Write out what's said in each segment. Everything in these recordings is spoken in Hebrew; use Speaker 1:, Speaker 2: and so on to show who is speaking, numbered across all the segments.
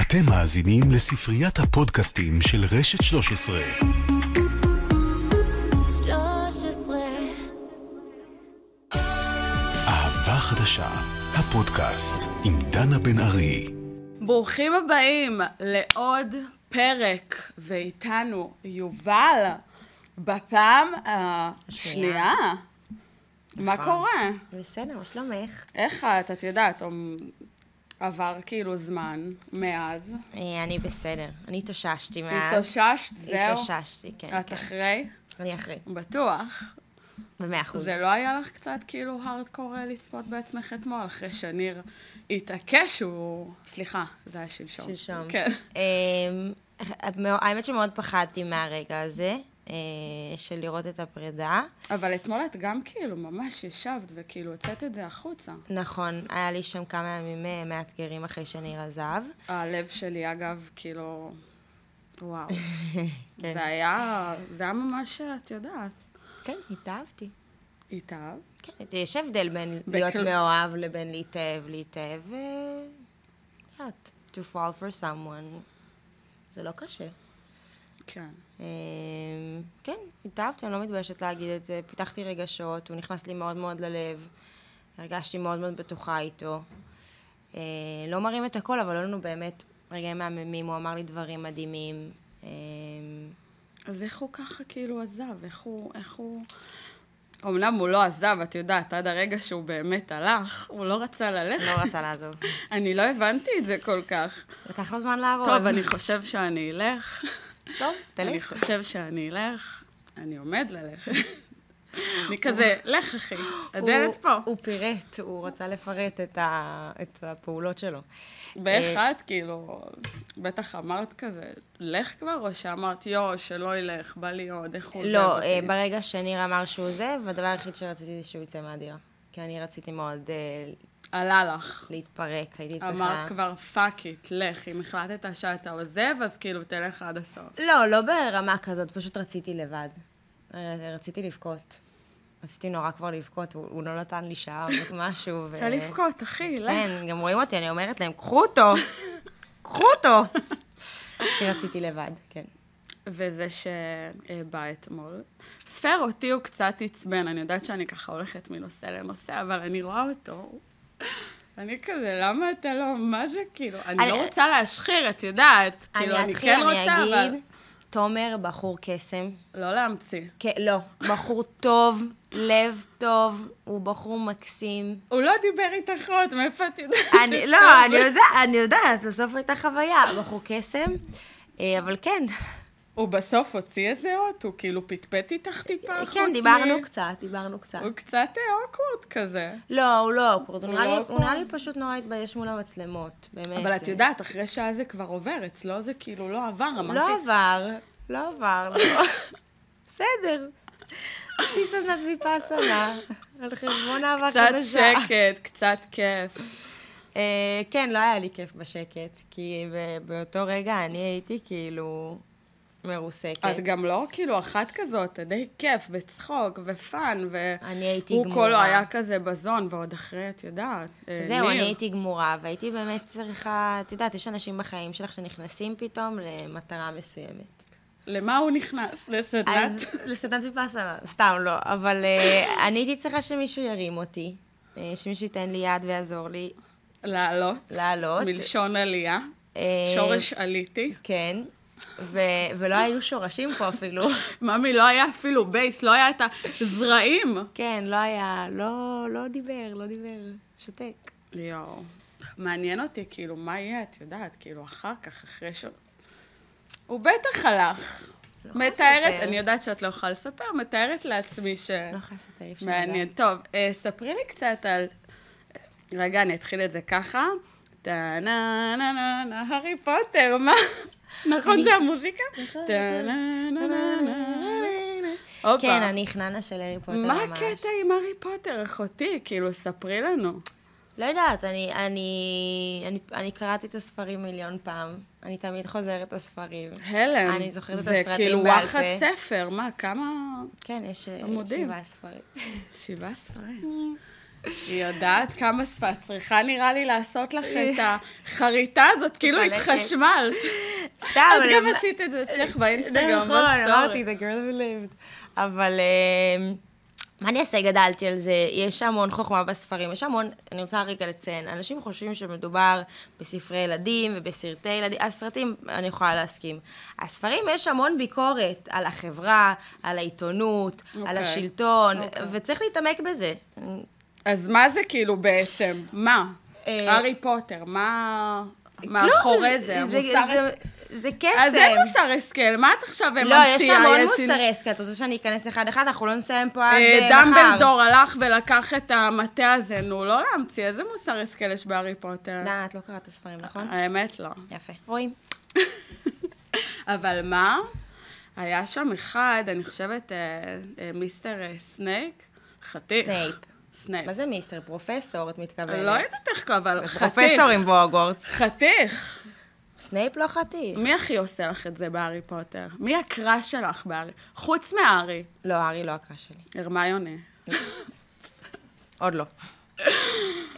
Speaker 1: אתם מאזינים לספריית הפודקאסטים של רשת 13.
Speaker 2: 13,
Speaker 1: אהבה חדשה, הפודקאסט עם דנה בן ארי.
Speaker 3: ברוכים הבאים לעוד פרק, ואיתנו יובל, בפעם השנייה. מה קורה?
Speaker 4: בסדר, מה שלומך?
Speaker 3: איך את? את יודעת, אמ, עבר כאילו זמן מאז.
Speaker 4: אה, אני בסדר. אני התאוששתי מאז.
Speaker 3: התאוששת, זהו.
Speaker 4: התאוששתי, כן.
Speaker 3: את
Speaker 4: כן.
Speaker 3: אחרי?
Speaker 4: אני אחרי,
Speaker 3: בטוח.
Speaker 4: במאה אחוז.
Speaker 3: זה לא היה לך קצת כאילו הארדקור לצפות בעצמך אתמול, אחרי שניר התעקש שהוא... סליחה, זה היה שלשום.
Speaker 4: שלשום.
Speaker 3: כן.
Speaker 4: אמ, את מאו- האמת שמאוד פחדתי מהרגע הזה, אה, של לראות את הפרידה.
Speaker 3: אבל אתמול את גם כאילו ממש ישבת וכאילו הוצאת את זה החוצה.
Speaker 4: נכון, היה לי שם כמה ימים אה, מאתגרים אחרי שניר עזב.
Speaker 3: הלב שלי, אגב, כאילו, וואו.
Speaker 4: כן.
Speaker 3: זה היה, זה היה ממש, את יודעת,
Speaker 4: כן, התאהבתי.
Speaker 3: התאהב.
Speaker 4: כן, יש הבדל בין להיות מאוהב לבין להתאהב. להתאהב, אה, את יודעת, to fall for someone. זה לא קשה.
Speaker 3: כן.
Speaker 4: אמ, כן, התאהבתי, אני לא מתביישת להגיד את זה. פיתחתי רגשות, הוא נכנס לי מאוד מאוד ללב. הרגשתי מאוד מאוד בטוחה איתו. אה, לא מראים את הכל, אבל היו לנו באמת רגעים מהממים, הוא אמר לי דברים מדהימים. אמ,
Speaker 3: אז איך הוא ככה כאילו עזב? איך הוא, איך הוא... אמנם הוא לא עזב, את יודעת, עד הרגע שהוא באמת הלך, הוא לא רצה ללכת.
Speaker 4: לא רצה לעזוב.
Speaker 3: אני לא הבנתי את זה כל כך.
Speaker 4: לקח לו זמן לעבוד.
Speaker 3: טוב, אני חושב שאני אלך.
Speaker 4: טוב,
Speaker 3: אני
Speaker 4: תלך.
Speaker 3: חושב שאני אלך. אני עומד ללכת. אני כזה, לך אחי, הדלת
Speaker 4: הוא-
Speaker 3: פה.
Speaker 4: הוא פירט, הוא רצה לפרט את ה- את הפעולות שלו.
Speaker 3: ואיך
Speaker 4: אה,
Speaker 3: את, כאילו, בטח אמרת כזה, לך כבר, או שאמרת, יו, שלא ילך, בא לי עוד, איך הוא
Speaker 4: לא,
Speaker 3: עוזב
Speaker 4: אה,
Speaker 3: אותי?
Speaker 4: ברגע שניר אמר שהוא עוזב, הדבר היחיד שרציתי זה שהוא יצא מהדירה. כי אני רציתי מאוד אה,
Speaker 3: עלה לך.
Speaker 4: להתפרק, הייתי צריכה...
Speaker 3: אמרת כבר, פאק איט, לך, אם החלטת שאתה עוזב, אז כאילו, תלך עד הסוף.
Speaker 4: לא, לא ברמה כזאת, פשוט רציתי לבד. ר- רציתי לבכות. רציתי נורא כבר לבכות, הוא, הוא לא נתן לי שעה או משהו. ו...
Speaker 3: רוצה לבכות, אחי, לך.
Speaker 4: כן, גם רואים אותי, אני אומרת להם, קחו אותו! קחו אותו! כי רציתי לבד, כן.
Speaker 3: וזה שבא אתמול. פר אותי הוא קצת עצבן, אני יודעת שאני ככה הולכת מנושא לנושא, אבל אני רואה אותו. אני כזה, למה אתה לא, מה זה כאילו? אני
Speaker 4: אני-
Speaker 3: לא רוצה להשחיר, את יודעת. כאילו,
Speaker 4: אני
Speaker 3: אני
Speaker 4: אתחיל,
Speaker 3: כן
Speaker 4: אני
Speaker 3: רוצה, אבל...
Speaker 4: אגיד, תומר בחור קסם.
Speaker 3: לא להמציא.
Speaker 4: כן, לא, בחור טוב, לב טוב, הוא בחור מקסים.
Speaker 3: הוא לא דיבר איתך עוד, מאיפה את יודעת?
Speaker 4: אני,
Speaker 3: את
Speaker 4: לא,
Speaker 3: זה?
Speaker 4: אני יודעת, אני יודעת, בסוף הייתה חוויה, בחור קסם. אה, אבל כן,
Speaker 3: הוא בסוף הוציא איזה אות, הוא כאילו פטפט איתך טיפה חוץ
Speaker 4: כן,
Speaker 3: מ-
Speaker 4: דיברנו קצת, דיברנו קצת.
Speaker 3: הוא קצת אוקוורד כזה.
Speaker 4: לא, הוא לא אוקוורד, הוא
Speaker 3: אוקיי. הוא לא
Speaker 4: נראה לי- הוא נראה לי
Speaker 3: awkward.
Speaker 4: פשוט נורא התבייש מול המצלמות, באמת. אה.
Speaker 3: אבל את יודעת, אחרי שעה זה כבר עובר, אצלו זה כאילו לא עבר, אמרתי.
Speaker 4: לא עבר, לא עבר, לא. בסדר. פיסה ויפאסנה, על חשבון אהבה
Speaker 3: קצת
Speaker 4: חדשה.
Speaker 3: שקט, קצת כיף.
Speaker 4: אה, כן, לא היה לי כיף בשקט, כי ב- באותו רגע אני הייתי כאילו מרוסקת.
Speaker 3: את גם לא כאילו אחת כזאת, את די כיף, וצחוק, ופאן, ו...
Speaker 4: אני הייתי
Speaker 3: הוא
Speaker 4: גמורה.
Speaker 3: כולו היה כזה בזון, ועוד אחרי, את יודעת. אה,
Speaker 4: זהו, אני
Speaker 3: ניר.
Speaker 4: הייתי גמורה, והייתי באמת צריכה, את יודעת, יש אנשים בחיים שלך שנכנסים פתאום למטרה מסוימת.
Speaker 3: למה הוא נכנס? לסדנת?
Speaker 4: אז לסדנת ויפאסנה, סתם לא, אבל אה, אני הייתי צריכה שמישהו ירים אותי, אה, שמישהו ייתן לי יד ויעזור לי.
Speaker 3: לעלות.
Speaker 4: לעלות.
Speaker 3: מלשון עלייה.
Speaker 4: אה,
Speaker 3: שורש עליתי.
Speaker 4: כן, ו- ולא היו שורשים פה אפילו.
Speaker 3: ממי, לא היה אפילו בייס, לא היה את הזרעים.
Speaker 4: כן, לא היה, לא, לא דיבר, לא דיבר, שותק.
Speaker 3: יואו. מעניין אותי, כאילו, מה יהיה, את יודעת, כאילו, אחר כך, אחרי ש... הוא בטח הלך.
Speaker 4: יכולה
Speaker 3: מתארת,
Speaker 4: לספר.
Speaker 3: אני יודעת שאת לא יכולה לספר, מתארת לעצמי ש...
Speaker 4: לא יכולה לספר, אי אפשר
Speaker 3: מעניין. טוב, אה, ספרי לי קצת על... רגע, אני אתחיל את זה ככה. טה נה נה נה נה, הארי פוטר, מה? נכון, זה המוזיקה? טה נה נה נה נה. הופה.
Speaker 4: כן, אני חננה של הארי פוטר
Speaker 3: מה
Speaker 4: ממש.
Speaker 3: הקטע עם הארי פוטר, אחותי? כאילו, ספרי לנו.
Speaker 4: לא יודעת, אני, אני, אני, אני קראתי את הספרים מיליון פעם. אני תמיד חוזרת לספרים.
Speaker 3: הלם.
Speaker 4: אני זוכרת את
Speaker 3: זה
Speaker 4: הסרטים
Speaker 3: כאילו
Speaker 4: בעל
Speaker 3: וואחד
Speaker 4: פה.
Speaker 3: ספר, מה, כמה?
Speaker 4: כן, יש אה,
Speaker 3: עמודים.
Speaker 4: שבעה ספרים.
Speaker 3: שבעה ספרים. היא יודעת כמה שפת צריכה נראה לי לעשות לך את החריטה הזאת, כאילו
Speaker 4: צלקת.
Speaker 3: התחשמלת.
Speaker 4: סתם,
Speaker 3: את גם
Speaker 4: אבל-
Speaker 3: עשית את זה אצלך באינסטגרם,
Speaker 4: נכון, אמרתי,
Speaker 3: בסטורי.
Speaker 4: the girl who lived. אבל אמ, מה אני אעשה, גדלתי על זה. יש המון חוכמה בספרים, יש המון, אני רוצה רגע לציין, אנשים חושבים שמדובר בספרי ילדים ובסרטי ילדים, הסרטים, אני יכולה להסכים. הספרים, יש המון ביקורת על החברה, על העיתונות, על
Speaker 3: אוקיי.
Speaker 4: השלטון, וצריך להתעמק בזה.
Speaker 3: אז מה זה כאילו בעצם? מה?
Speaker 4: אה,
Speaker 3: הארי פוטר, מה
Speaker 4: כלום,
Speaker 3: מאחורי זה? המוסר...
Speaker 4: לא, זה- זה קסם.
Speaker 3: אז אין מוסר השכל, מה את עכשיו
Speaker 4: לא,
Speaker 3: ממציאה?
Speaker 4: יש המון
Speaker 3: לי-
Speaker 4: מוסרי הסכם. את רוצה שאני אכנס אחד-אחד? אנחנו לא נסיים פה עד
Speaker 3: אה,
Speaker 4: אה, מחר.
Speaker 3: דמבלדור הלך ולקח את המטה הזה, נו, לא להמציא, איזה מוסר השכל יש בהארי פוטר?
Speaker 4: דנה, את לא קראת את הספרים, נכון?
Speaker 3: האמת לא.
Speaker 4: יפה. רואים.
Speaker 3: אבל מה? היה שם אחד, אני חושבת, אה, אה, מיסטר אה, סנייק, חתיך.
Speaker 4: סנייפ.
Speaker 3: סנייפ.
Speaker 4: מה זה מיסטר? פרופסור, את מתכוונת.
Speaker 3: לא יודעת איך קוראים, אבל חתיך.
Speaker 4: פרופסורים בהוגוורטס.
Speaker 3: חתיך.
Speaker 4: סנייפ לא חתיך.
Speaker 3: מי הכי עושה לך את זה בהארי פוטר? מי הקרא שלך בהארי? חוץ מהארי,
Speaker 4: לא, הארי לא הקרא שלי.
Speaker 3: הרמיוני.
Speaker 4: עוד לא.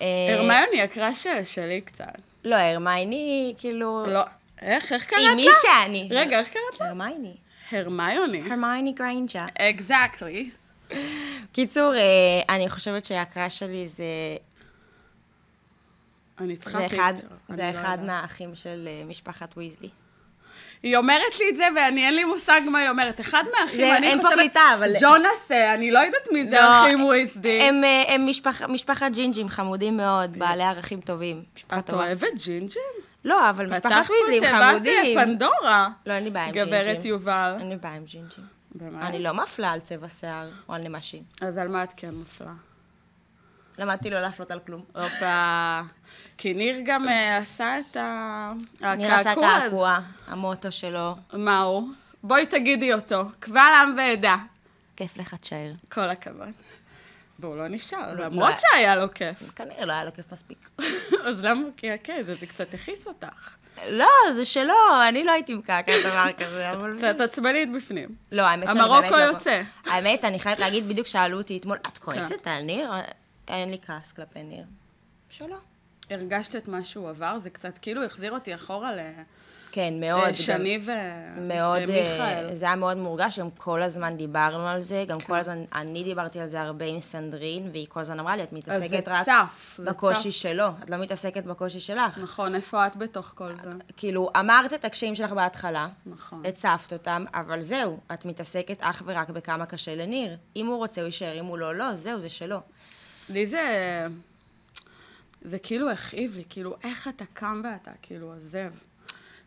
Speaker 4: אה,
Speaker 3: הרמיוני הקרא של- שלי קצת.
Speaker 4: לא, הרמייני, כאילו...
Speaker 3: לא, איך, איך קראת לה?
Speaker 4: היא מי שאני.
Speaker 3: רגע, איך קראת לה?
Speaker 4: הרמייני.
Speaker 3: הרמיוני.
Speaker 4: הרמייני גריינג'ה.
Speaker 3: אקזקטלי.
Speaker 4: קיצור, אה, אני חושבת שההקרא שלי זה
Speaker 3: אני
Speaker 4: זה
Speaker 3: צריכה
Speaker 4: אחד,
Speaker 3: פיקצ'ר, אני
Speaker 4: זה
Speaker 3: לא
Speaker 4: אחד
Speaker 3: יודעת.
Speaker 4: מהאחים של אה, משפחת ויזלי.
Speaker 3: היא אומרת לי את זה, ואני אין לי מושג מה היא אומרת. אחד מהאחים,
Speaker 4: זה-
Speaker 3: אני
Speaker 4: אין פה
Speaker 3: חושבת...
Speaker 4: קליטה, אבל-
Speaker 3: ג'ונס, אה, אני לא יודעת מי זה
Speaker 4: לא,
Speaker 3: האחים ויזדי.
Speaker 4: הם, אה, הם משפח- משפחת ג'ינג'ים חמודים מאוד, בעלי ערכים טובים. משפחה
Speaker 3: אה. את
Speaker 4: טובה.
Speaker 3: אוהבת ג'ינג'ים?
Speaker 4: לא, אבל משפחת
Speaker 3: פתחת
Speaker 4: ויזלי
Speaker 3: פה
Speaker 4: הם
Speaker 3: תיבת, אה,
Speaker 4: חמודים.
Speaker 3: פנדורה.
Speaker 4: לא, אין לי בעיה עם ג'ינג'ים.
Speaker 3: גברת יובל.
Speaker 4: אין לי בעיה עם ג'ינג'ים.
Speaker 3: באמת?
Speaker 4: אני לא מפלה על צבע שיער או על נמשים.
Speaker 3: אז על מה את כן מפלה?
Speaker 4: למדתי לא להפלות על כלום.
Speaker 3: הופה. כי ניר גם אה, עשה את ה-
Speaker 4: ניר עשה
Speaker 3: הקעקוע הזה.
Speaker 4: קעקוע, המוטו שלו,
Speaker 3: מה הוא? בואי תגידי אותו, קבל עם ועדה.
Speaker 4: כיף לך תשאר.
Speaker 3: כל הכבוד. והוא לא נשאר,
Speaker 4: לא,
Speaker 3: למרות
Speaker 4: לא.
Speaker 3: שהיה לו כיף.
Speaker 4: כנראה לא היה לו כיף מספיק.
Speaker 3: אז למה הוא קעקע? זה זה קצת הכעיס אותך.
Speaker 4: לא, זה שלו, אני לא הייתי מקעקעת דבר כזה, אבל...
Speaker 3: קצת עצבנית בפנים.
Speaker 4: לא, האמת שאני
Speaker 3: המרוקו
Speaker 4: באמת לא...
Speaker 3: יוצא. כן.
Speaker 4: האמת, אני חייבת להגיד, בדיוק שאלו אותי אתמול, את כועסת על ניר? אין לי כעס כלפי ניר. שלא.
Speaker 3: הרגשת את מה שהוא עבר? זה קצת כאילו החזיר אותי אחורה אה,
Speaker 4: כן, מאוד. גם-
Speaker 3: לשני ו...
Speaker 4: מאוד,
Speaker 3: אה, מיכאל. כן.
Speaker 4: אה, זה היה מאוד מורגש, גם כל הזמן דיברנו על זה, גם כל הזמן, אני דיברתי על זה הרבה עם סנדרין, והיא כל הזמן אמרה לי, את
Speaker 3: אז זה
Speaker 4: מתעסקת רק
Speaker 3: צף, זה
Speaker 4: בקושי
Speaker 3: צף.
Speaker 4: שלו, את לא מתעסקת בקושי שלך.
Speaker 3: נכון, איפה את בתוך כל זה?
Speaker 4: כאילו, אמרת את הקשיים שלך בהתחלה,
Speaker 3: נכון.
Speaker 4: הצפת אותם, אבל זהו, את מתעסקת אך ורק בכמה קשה לניר. אם הוא רוצה, הוא יישאר, אם הוא לא, לא, זהו, זה שלו.
Speaker 3: לי זה... זה כאילו הכאיב לי, כאילו, איך אתה קם ואתה כאילו עוזב.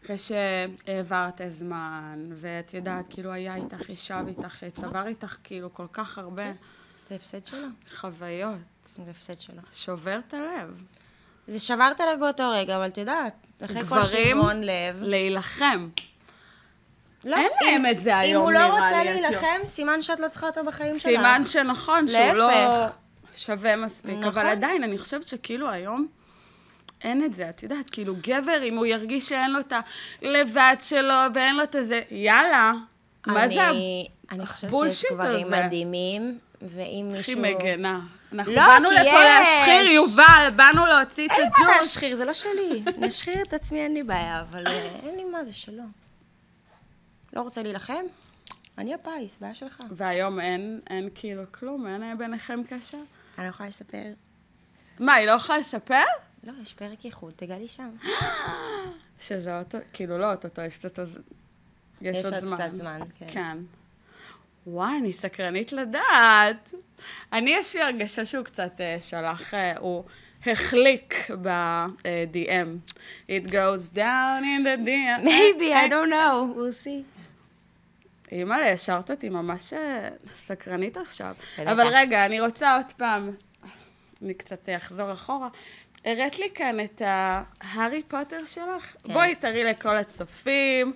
Speaker 3: אחרי שהעברת זמן, ואת יודעת, כאילו, היה איתך, ישב איתך, צבר איתך, כאילו, כל כך הרבה
Speaker 4: זה הפסד שלו,
Speaker 3: חוויות.
Speaker 4: זה הפסד שלו.
Speaker 3: שובר את הלב.
Speaker 4: זה שבר את הלב באותו רגע, אבל את יודעת, אחרי כל
Speaker 3: גברים,
Speaker 4: שברון לב...
Speaker 3: להילחם.
Speaker 4: לא,
Speaker 3: אין
Speaker 4: אם-
Speaker 3: להם את זה היום,
Speaker 4: אם הוא
Speaker 3: נראה
Speaker 4: לא רוצה
Speaker 3: לי, את
Speaker 4: להילחם, סימן שאת לא צריכה אותו בחיים שלך.
Speaker 3: סימן שנכון, שהוא לא
Speaker 4: להפך.
Speaker 3: שווה מספיק.
Speaker 4: נכון.
Speaker 3: אבל עדיין, אני חושבת שכאילו היום... אין את זה, את יודעת, כאילו גבר, אם הוא ירגיש שאין לו את הלבד שלו ואין לו את הזה, יאללה, מה זה
Speaker 4: אני- אני חושבת שיש
Speaker 3: הבולשיט
Speaker 4: גברים
Speaker 3: הזה?
Speaker 4: מדהימים, ואם מישהו...
Speaker 3: הכי מגנה? אנחנו
Speaker 4: לא,
Speaker 3: באנו
Speaker 4: כי
Speaker 3: לפה
Speaker 4: יש.
Speaker 3: להשחיר, יובל, באנו להוציא את
Speaker 4: אין לי מה
Speaker 3: הג'וש.
Speaker 4: להשחיר, זה לא שלי. אני אשחיר את עצמי, אין לי בעיה, אבל אה, אין לי מה, זה שלו. לא רוצה להילחם? אני הפיס, בעיה שלך.
Speaker 3: והיום אין, אין כאילו כלום, אין אה, ביניכם קשר?
Speaker 4: אני לא יכולה לספר.
Speaker 3: מה, היא לא יכולה לספר?
Speaker 4: לא, יש פרק ייחוד, תגלי שם.
Speaker 3: שזה אוטו, כאילו לא אוטוטו, יש קצת עוד... יש עוד זמן.
Speaker 4: קצת זמן, כן.
Speaker 3: כן. וואי, אני סקרנית לדעת. אני, יש לי הרגשה שהוא קצת אה, שלח, אה, הוא החליק ב-DM. It goes down in the DM.
Speaker 4: Maybe, I don't know, we'll see.
Speaker 3: אימא'לה, השארת אותי ממש אה, סקרנית עכשיו.
Speaker 4: בטח.
Speaker 3: אבל רגע, אני רוצה עוד פעם, אני קצת אה, אחזור אחורה. הראת לי כאן את ההארי פוטר שלך.
Speaker 4: כן.
Speaker 3: בואי תראי לכל הצופים,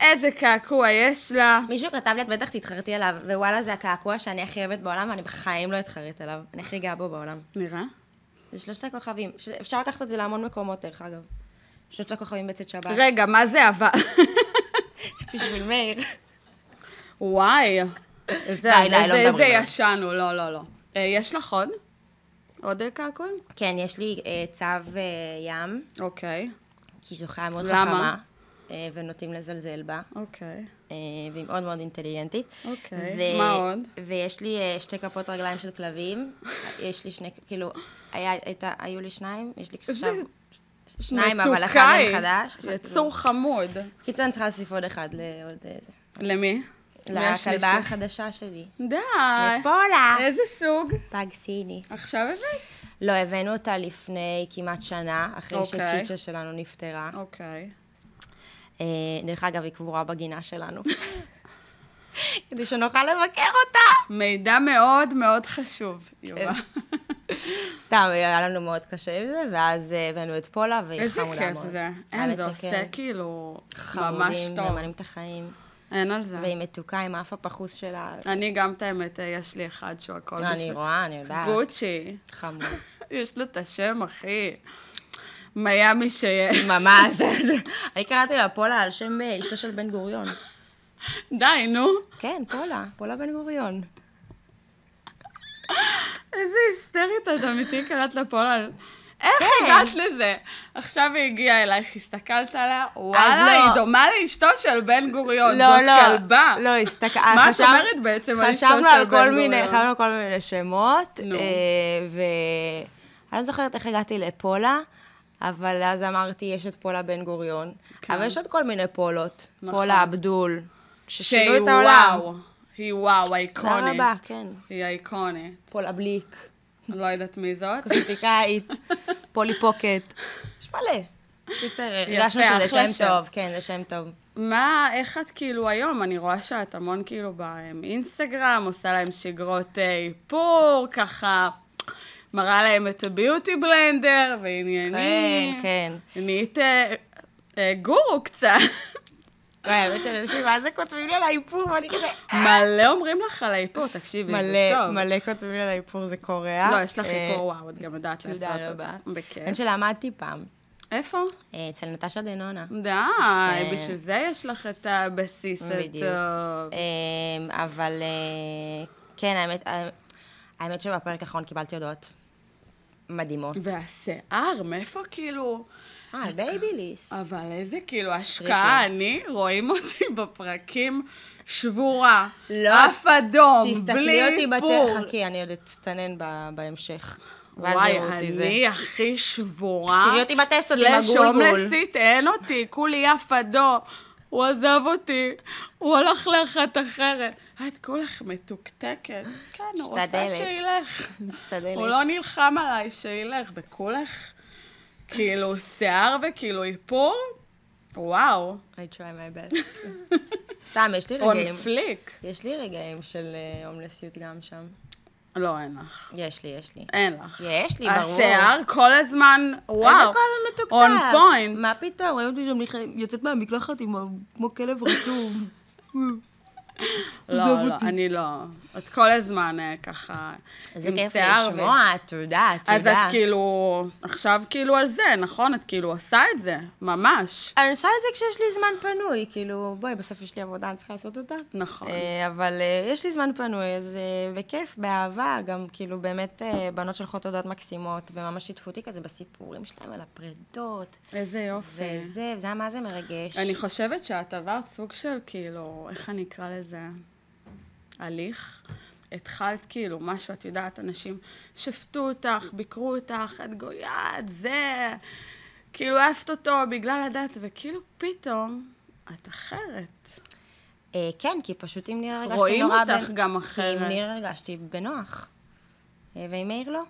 Speaker 3: איזה קעקוע יש לה.
Speaker 4: מישהו כתב לי, את בטח תתחרטי עליו, ווואלה, זה הקעקוע שאני הכי אוהבת בעולם, ואני בחיים לא אתחרט עליו. אני הכי גאה בו בעולם.
Speaker 3: נראה?
Speaker 4: זה שלושת הכוכבים. ש- אפשר לקחת את זה להמון מקומות, דרך אגב. שלושת הכוכבים בצאת שבת.
Speaker 3: רגע, מה זה אבל?
Speaker 4: בשביל מאיר.
Speaker 3: וואי. איזה,
Speaker 4: די, די, לא
Speaker 3: איזה,
Speaker 4: מדברים
Speaker 3: איזה
Speaker 4: עליו.
Speaker 3: לא. ישן הוא, לא, לא, לא. אה, יש לך עוד? עוד קעקועים?
Speaker 4: כן, יש לי אה, צו אה, ים,
Speaker 3: אוקיי,
Speaker 4: כי זו חיה מאוד
Speaker 3: למה?
Speaker 4: חכמה, אה, ונוטים לזלזל בה,
Speaker 3: אוקיי.
Speaker 4: אה, והיא מאוד מאוד אינטליגנטית.
Speaker 3: אוקיי, מה עוד?
Speaker 4: ויש לי אה, שתי כפות רגליים של כלבים, יש לי שני, כאילו, היה, הייתה, היו לי שניים, יש לי עכשיו שניים, אבל אחד
Speaker 3: מתוקאי.
Speaker 4: מהם חדש. אחד- לא.
Speaker 3: יצור חמוד.
Speaker 4: קיצור, אני צריכה להוסיף עוד אחד לעוד... אה, זה.
Speaker 3: למי?
Speaker 4: לכלבה
Speaker 3: והשלישי?
Speaker 4: החדשה שלי.
Speaker 3: די.
Speaker 4: פולה!
Speaker 3: איזה סוג?
Speaker 4: פג סיני.
Speaker 3: עכשיו הבאת?
Speaker 4: לא, הבאנו אותה לפני כמעט שנה, אחרי
Speaker 3: אוקיי.
Speaker 4: שצ'יצ'ה שלנו נפטרה.
Speaker 3: אוקיי.
Speaker 4: אה, דרך אגב, היא קבורה בגינה שלנו. כדי שנוכל לבקר אותה.
Speaker 3: מידע מאוד מאוד חשוב, יובל.
Speaker 4: כן. סתם, היה לנו מאוד קשה עם זה, ואז אה, הבאנו את פולה, והיא
Speaker 3: איזה
Speaker 4: חמודה מאוד.
Speaker 3: כיף זה. אין,
Speaker 4: האמת
Speaker 3: זה
Speaker 4: שכן.
Speaker 3: עושה כאילו ממש
Speaker 4: חמודים,
Speaker 3: טוב.
Speaker 4: ממלאים את החיים.
Speaker 3: אין על זה. אה,
Speaker 4: והיא מתוקה עם האף הפחוס שלה.
Speaker 3: אני גם, את האמת, יש לי אחד שהוא הכל
Speaker 4: לא, אני רואה, אני יודעת.
Speaker 3: גוצ'י.
Speaker 4: חמוד.
Speaker 3: יש לו את השם, אחי. מיאמי שיש.
Speaker 4: ממש. אני קראתי לה פולה על שם אה, אשתו של בן גוריון.
Speaker 3: די, נו.
Speaker 4: כן, פולה, פולה בן גוריון.
Speaker 3: איזה היסטרית את אמיתי קראת לה פולן. איך
Speaker 4: כן.
Speaker 3: הגעת לזה? עכשיו היא הגיעה אלייך, הסתכלת עליה,
Speaker 4: לא.
Speaker 3: וואלה, היא דומה לאשתו של בן גוריון,
Speaker 4: לא,
Speaker 3: זאת
Speaker 4: לא.
Speaker 3: כלבה.
Speaker 4: לא, הסתכל...
Speaker 3: מה את
Speaker 4: חשב-
Speaker 3: אומרת בעצם על אשתו
Speaker 4: חשבנו
Speaker 3: של
Speaker 4: על
Speaker 3: בן
Speaker 4: כל מיני-
Speaker 3: גוריון?
Speaker 4: חשבנו על כל מיני שמות,
Speaker 3: נו.
Speaker 4: אה, ו... אני לא זוכרת איך הגעתי לפולה, אבל אז אמרתי, יש את פולה בן גוריון.
Speaker 3: כן.
Speaker 4: אבל יש עוד כל מיני פולות.
Speaker 3: נכון.
Speaker 4: פולה עבדול, ששינו
Speaker 3: שהיא
Speaker 4: את העולם.
Speaker 3: וואו, היא וואו,
Speaker 4: תודה
Speaker 3: אייקונית.
Speaker 4: רבה, כן.
Speaker 3: היא אייקונית.
Speaker 4: פולה בליק,
Speaker 3: אני לא יודעת מי זאת.
Speaker 4: קוסמטיקאית, פולי פוקט. יש מלא. קיצר, הרגשנו
Speaker 3: יפה,
Speaker 4: שזה
Speaker 3: אחלה
Speaker 4: שם
Speaker 3: שם.
Speaker 4: טוב, כן, זה שם טוב.
Speaker 3: מה, איך את כאילו היום? אני רואה שאת המון כאילו באינסטגרם, עושה להם שגרות אה, איפור, ככה מראה להם את הביוטי בלנדר
Speaker 4: כן,
Speaker 3: ועניינים.
Speaker 4: כן.
Speaker 3: נהיית אה, אה, גורו קצת.
Speaker 4: וואי, אוקיי, האמת שאנשים מה זה כותבים לי על האיפור, ואני כזה...
Speaker 3: מלא אומרים לך על האיפור, תקשיבי, זה
Speaker 4: מלא,
Speaker 3: טוב.
Speaker 4: מלא כותבים לי על האיפור, זה קורע.
Speaker 3: לא, יש לך
Speaker 4: אה,
Speaker 3: איפור, וואו, את גם יודעת לעשות
Speaker 4: תודה
Speaker 3: אותו.
Speaker 4: רבה. אני
Speaker 3: בכיף.
Speaker 4: שלמדתי פעם,
Speaker 3: איפה?
Speaker 4: אה, אצל נטשה דנונה.
Speaker 3: די, בשביל זה יש לך את הבסיס
Speaker 4: כן. בדיוק.
Speaker 3: הטוב.
Speaker 4: אה, אבל אה, כן, האמת, אה, האמת שבפרק האחרון קיבלתי הודעות מדהימות.
Speaker 3: והשיער, מאיפה כאילו...
Speaker 4: אה, בייביליס.
Speaker 3: אבל איזה כאילו השקעה, אני, רואים אותי בפרקים שבורה,
Speaker 4: לא,
Speaker 3: אף אדום,
Speaker 4: תסתכלי
Speaker 3: בלי
Speaker 4: אותי
Speaker 3: איפור.
Speaker 4: בטח, חכי, אני עוד אצטנן ב- בהמשך. ואז
Speaker 3: וואי,
Speaker 4: יראו אותי זה.
Speaker 3: אני הכי שבורה.
Speaker 4: תראי אותי בטסטות עם
Speaker 3: סלאש
Speaker 4: הגולגול.
Speaker 3: הומלסית, אין אותי, כולי אף אדום. הוא עזב אותי, הוא הלך לאחת אחרת. את כולך מתוקתקת. כן, הוא רוצה
Speaker 4: משתדלת.
Speaker 3: שילך.
Speaker 4: משתדלת.
Speaker 3: הוא לא נלחם עליי, שילך. וכולך, כאילו, שיער וכאילו איפור? וואו,
Speaker 4: I try my best. סתם, יש לי רגעים.
Speaker 3: און פליק.
Speaker 4: יש לי רגעים של אה, הומלסיות גם שם.
Speaker 3: לא, אין לך.
Speaker 4: יש לי, יש לי.
Speaker 3: אין לך.
Speaker 4: יש לי, ברור.
Speaker 3: השיער כל הזמן, וואו.
Speaker 4: איזה כל הזמן מתוקתק.
Speaker 3: און פוינט.
Speaker 4: מה פתאום? ראיתי אותי שם נכ- יוצאת מהמקלחת עם ה- כמו כלב רטוב.
Speaker 3: לא, לא, אני לא. את כל הזמן אה, ככה
Speaker 4: איזה
Speaker 3: עם
Speaker 4: כיף
Speaker 3: שיער ו-
Speaker 4: לשמוע, תודה, תודה.
Speaker 3: אז את כאילו, עכשיו כאילו על זה, נכון? את כאילו עושה את זה, ממש.
Speaker 4: אני עושה את זה כשיש לי זמן פנוי, כאילו, בואי, בסוף יש לי עבודה, אני צריכה לעשות אותה.
Speaker 3: נכון.
Speaker 4: אה, אבל אה, יש לי זמן פנוי, אז אה, בכיף, באהבה, גם כאילו באמת אה, בנות שלחות הודעות מקסימות, וממש שיתפו אותי כזה בסיפורים שלהם על הפרדות,
Speaker 3: איזה יופי.
Speaker 4: וזה, וזה היה מה זה מרגש.
Speaker 3: אני חושבת שאת עברת סוג של כאילו, איך אני אקרא לזה? הליך. התחלת כאילו משהו, את יודעת, אנשים שפטו אותך, ביקרו אותך, את גויה, את זה, כאילו אהבת אותו בגלל הדת, וכאילו פתאום את אחרת.
Speaker 4: אה, כן, כי פשוט עם ניר הרגשתי
Speaker 3: רואים
Speaker 4: נורא...
Speaker 3: אותך גם אחרת.
Speaker 4: כי עם ניר הרגשתי בנוח. אה, ועם מאיר לא.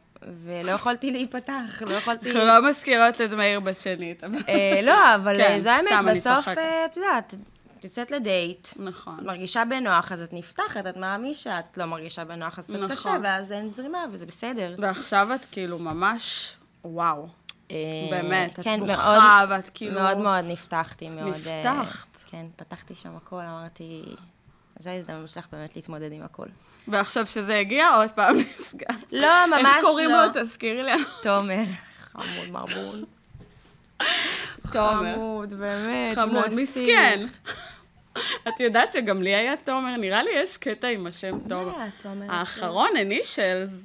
Speaker 4: ולא יכולתי להיפתח, לא יכולתי...
Speaker 3: אנחנו לא מזכירות את מאיר בשנית, אבל...
Speaker 4: אה, לא, אבל
Speaker 3: כן,
Speaker 4: אה, זה האמת,
Speaker 3: סתם, אני
Speaker 4: בסוף,
Speaker 3: צוחקת.
Speaker 4: אה, את יודעת, את יוצאת לדייט, את
Speaker 3: נכון.
Speaker 4: מרגישה בנוח, אז את נפתחת, את מעמישה, את לא מרגישה בנוח, אז
Speaker 3: נכון.
Speaker 4: את קשה, ואז אין זרימה, וזה בסדר.
Speaker 3: ועכשיו את כאילו ממש, וואו.
Speaker 4: אה,
Speaker 3: באמת, את
Speaker 4: כן,
Speaker 3: בוכה,
Speaker 4: מאוד-
Speaker 3: ואת כאילו-
Speaker 4: מאוד מאוד נפתחתי, מאוד... אה,
Speaker 3: נפתחת.
Speaker 4: כן, פתחתי שם הכל, אמרתי, זו ההזדמנות שלך באמת להתמודד עם הכל.
Speaker 3: ועכשיו שזה הגיע, עוד פעם נסגר.
Speaker 4: לא, ממש לא.
Speaker 3: איך קוראים לו? תזכירי לי. לא
Speaker 4: תומר. חמוד מרבון.
Speaker 3: תומר.
Speaker 4: חמוד, באמת.
Speaker 3: חמוד
Speaker 4: נסיך.
Speaker 3: מסכן. את יודעת שגם לי היה תומר, נראה לי יש קטע עם השם תומר.
Speaker 4: היה תומר?
Speaker 3: האחרון, הנישלס.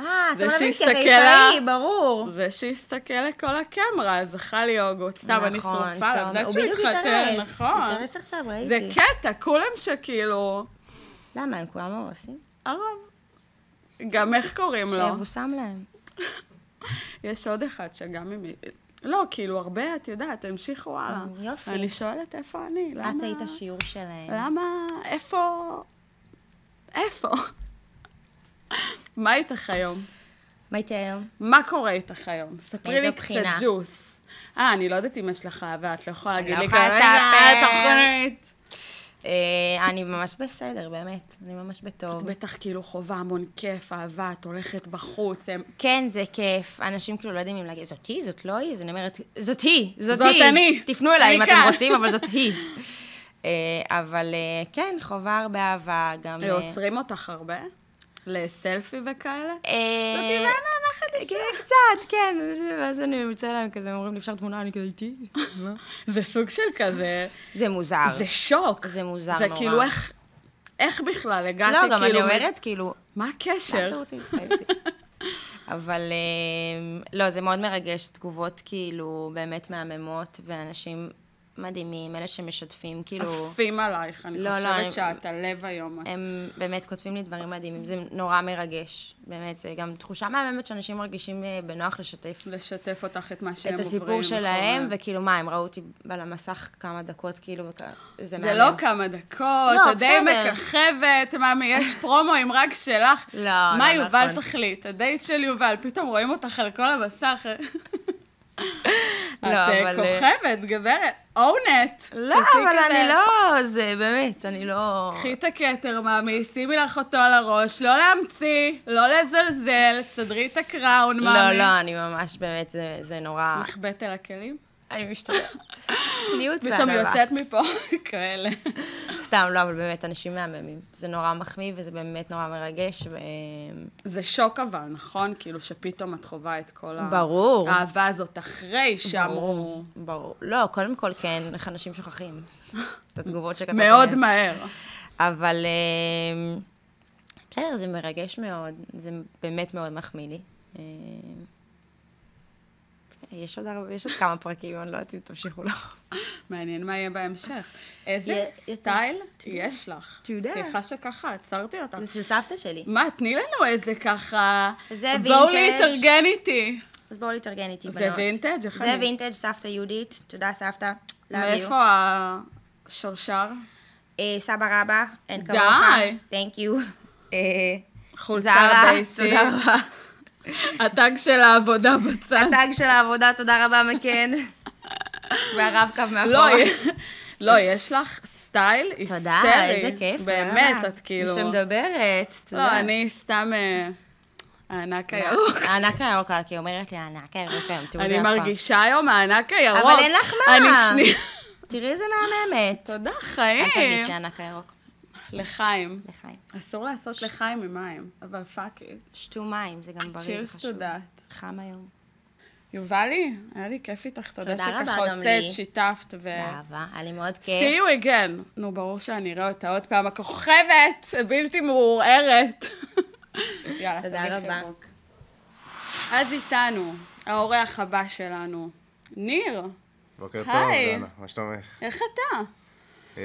Speaker 4: אה, אתה
Speaker 3: זה
Speaker 4: מלמד
Speaker 3: שהסתכל
Speaker 4: כחיפאי,
Speaker 3: לה-
Speaker 4: ברור.
Speaker 3: זה שהסתכל לכל הקמרה, זכה לי הוגות. סתם, אני
Speaker 4: נכון,
Speaker 3: שרופה,
Speaker 4: טוב,
Speaker 3: אני יודעת
Speaker 4: הוא
Speaker 3: שהוא
Speaker 4: בדיוק
Speaker 3: התחתן,
Speaker 4: התארס.
Speaker 3: נכון.
Speaker 4: התארס עכשיו, ראיתי.
Speaker 3: זה כן. קטע, כולם שכאילו,
Speaker 4: למה, הם כולם לא הורסים?
Speaker 3: הרוב. גם איך קוראים לו?
Speaker 4: שיבושם להם.
Speaker 3: יש עוד אחד שגם אם... היא- לא, כאילו, הרבה, את יודעת, המשיכו הלאה.
Speaker 4: יופי.
Speaker 3: אני שואלת איפה אני, למה...
Speaker 4: את היית השיעור שלהם.
Speaker 3: כן. למה, איפה... איפה? מה איתך היום?
Speaker 4: מה הייתי היום?
Speaker 3: מה קורה איתך היום? ספרי לי
Speaker 4: מאיזו
Speaker 3: קצת
Speaker 4: בחינה?
Speaker 3: ג'וס. אה, אני לא יודעת אם יש לך אהבה, את לא יכולה להגיד
Speaker 4: לא
Speaker 3: לי
Speaker 4: יכולה
Speaker 3: "רגע,
Speaker 4: לספר."
Speaker 3: תוכנית.
Speaker 4: אה, אני ממש בסדר, באמת. אני ממש בטוב.
Speaker 3: בטח כאילו חווה המון כיף, אהבה, את הולכת בחוץ, הם...
Speaker 4: כן, זה כיף. אנשים כאילו לא יודעים אם להגיד, זאת היא, זאת לא היא, אז אני אומרת, זאת היא, זאת
Speaker 3: זאת
Speaker 4: היא.
Speaker 3: אני.
Speaker 4: תפנו אליי אם
Speaker 3: אני
Speaker 4: אתם
Speaker 3: כאן."
Speaker 4: רוצים, אבל זאת היא. אה, אבל אה, כן, חובה הרבה אהבה, גם... אה,
Speaker 3: עוצרים אותך הרבה? לסלפי וכאלה?
Speaker 4: אה,
Speaker 3: זאת היא ואנה, מה חדשה?
Speaker 4: כן, קצת, כן, ואז אני ממצא להם כזה, אומרים לי, אפשר תמונה, אני כזה איתי? מה?
Speaker 3: זה סוג של כזה...
Speaker 4: זה מוזר.
Speaker 3: זה שוק.
Speaker 4: אה. זה מוזר
Speaker 3: זה
Speaker 4: נורא.
Speaker 3: כאילו איך... איך בכלל הגעתי
Speaker 4: לא,
Speaker 3: כאילו...
Speaker 4: גם אני
Speaker 3: מ-
Speaker 4: אומרת, כאילו,
Speaker 3: מה
Speaker 4: למה אתם
Speaker 3: הקשר?
Speaker 4: רוצים להצטער איתי? אבל אמ, לא, זה מאוד מרגש, תגובות כאילו באמת מהממות, ואנשים מדהימים, אלה שמשתפים, כאילו,
Speaker 3: עפים עלייך, אני
Speaker 4: לא, לא,
Speaker 3: חושבת
Speaker 4: אני-
Speaker 3: שאת הלב היום. את-
Speaker 4: הם באמת כותבים לי דברים מדהימים, זה נורא מרגש, באמת, זה גם תחושה מהממת שאנשים מרגישים אה, בנוח לשתף
Speaker 3: לשתף אותך את מה שהם
Speaker 4: את
Speaker 3: עוברים.
Speaker 4: הסיפור שלהם,
Speaker 3: נכון.
Speaker 4: וכאילו, מה, הם ראו אותי על המסך כמה דקות, כאילו, וכ- זה
Speaker 3: זה
Speaker 4: מהמם.
Speaker 3: לא כמה דקות,
Speaker 4: לא,
Speaker 3: את די
Speaker 4: בסדר.
Speaker 3: מככבת, מאמי, יש פרומואים רק שלך.
Speaker 4: לא,
Speaker 3: מה
Speaker 4: לא
Speaker 3: יובל
Speaker 4: נכון.
Speaker 3: תחליט? הדייט של יובל, פתאום רואים אותך על כל המסך. את
Speaker 4: לא,
Speaker 3: אה,
Speaker 4: אבל, אה,
Speaker 3: כוכבת, גברת, אונט.
Speaker 4: לא, אבל אני לא, זה באמת, אני לא...
Speaker 3: קחי את הכתר, מאמי, שימי לך אותו על הראש, לא להמציא, לא לזלזל, סדרי את הקראון,
Speaker 4: לא,
Speaker 3: מאמי.
Speaker 4: לא, אני ממש, באמת, זה- זה נורא...
Speaker 3: נחבאת אל הכלים?
Speaker 4: אני משתגעת. צניעות
Speaker 3: פתאום
Speaker 4: וענווה.
Speaker 3: יוצאת מפה כאלה.
Speaker 4: סתם, לא, אבל באמת, אנשים מהממים. זה נורא מחמיא וזה באמת נורא מרגש. ו...
Speaker 3: זה שוק אבל, נכון? כאילו שפתאום את חווה את כל ה-
Speaker 4: ברור.
Speaker 3: האהבה הזאת אחרי שאמרו.
Speaker 4: ברור. לא, קודם כל כן, איך אנשים שוכחים את התגובות שכתבתם.
Speaker 3: מאוד
Speaker 4: להם.
Speaker 3: מהר.
Speaker 4: אבל אמ, בסדר, זה מרגש מאוד. זה באמת מאוד מחמיא לי. אמ, יש עוד, הרבה, יש עוד כמה פרקים, אני לא יודעת אם תמשיכו לו.
Speaker 3: מעניין מה יהיה בהמשך. איזה
Speaker 4: יה-
Speaker 3: סטייל יש לך.
Speaker 4: את יודעת.
Speaker 3: סליחה שככה, עצרתי אותך.
Speaker 4: זה של סבתא שלי.
Speaker 3: מה, תני לנו איזה ככה...
Speaker 4: זה
Speaker 3: בואו
Speaker 4: וינטג'.
Speaker 3: להתארגן איתי.
Speaker 4: אז בואו להתארגן איתי,
Speaker 3: זה
Speaker 4: בנות.
Speaker 3: וינטג', איך
Speaker 4: זה
Speaker 3: אני-
Speaker 4: וינטג', סבתא יהודית. תודה, סבתא. Love you.
Speaker 3: מאיפה השרשר?
Speaker 4: אה, סבא רבא, אין
Speaker 3: די.
Speaker 4: כמוך. Thank you. אה,
Speaker 3: חולצה
Speaker 4: זרה,
Speaker 3: בייסית.
Speaker 4: תודה רבה.
Speaker 3: הטאג של העבודה בצד.
Speaker 4: הטאג של העבודה, תודה רבה, מקן. והרב-קו מאחורה.
Speaker 3: לא, לא, יש לך סטייל היסטרי.
Speaker 4: תודה, איזה כיף.
Speaker 3: באמת, את כאילו...
Speaker 4: מי שמדברת, תודה.
Speaker 3: לא, אני סתם אה, הענק הירוק.
Speaker 4: הענק הירוקה, כי היא אומרת לי, הענק הירוקה, היום, תראו, זה
Speaker 3: אני
Speaker 4: יפה.
Speaker 3: מרגישה היום הענק הירוק.
Speaker 4: אבל אין לך מה.
Speaker 3: אני שנייה.
Speaker 4: תראי איזה מהממת.
Speaker 3: תודה,
Speaker 4: אל
Speaker 3: חיים.
Speaker 4: תרגישי הענק הירוק.
Speaker 3: לחיים.
Speaker 4: לחיים.
Speaker 3: אסור לעשות לחיים ממים, אבל פאק איט.
Speaker 4: שתו מים, זה גם בריא, זה
Speaker 3: צ'ירס,
Speaker 4: חשוב.
Speaker 3: תודה.
Speaker 4: חם היום.
Speaker 3: יובלי, היה לי כיף איתך, תודה
Speaker 4: תודה רבה,
Speaker 3: שככה
Speaker 4: גם לי.
Speaker 3: הוצאת, שיתפת ו...
Speaker 4: באהבה, היה לי מאוד
Speaker 3: אה. See
Speaker 4: כיף.
Speaker 3: you again. נו, ברור שאני אראה אותה עוד פעם, הכוכבת, הבלתי מעורערת. יאללה,
Speaker 4: תודה
Speaker 3: תביא
Speaker 4: רבה.
Speaker 3: חיבוק. אז איתנו, האורח הבא שלנו, ניר,
Speaker 2: בוקר טוב,
Speaker 3: היי.
Speaker 2: דנה, מה שלומך?
Speaker 3: איך אתה?
Speaker 2: אה,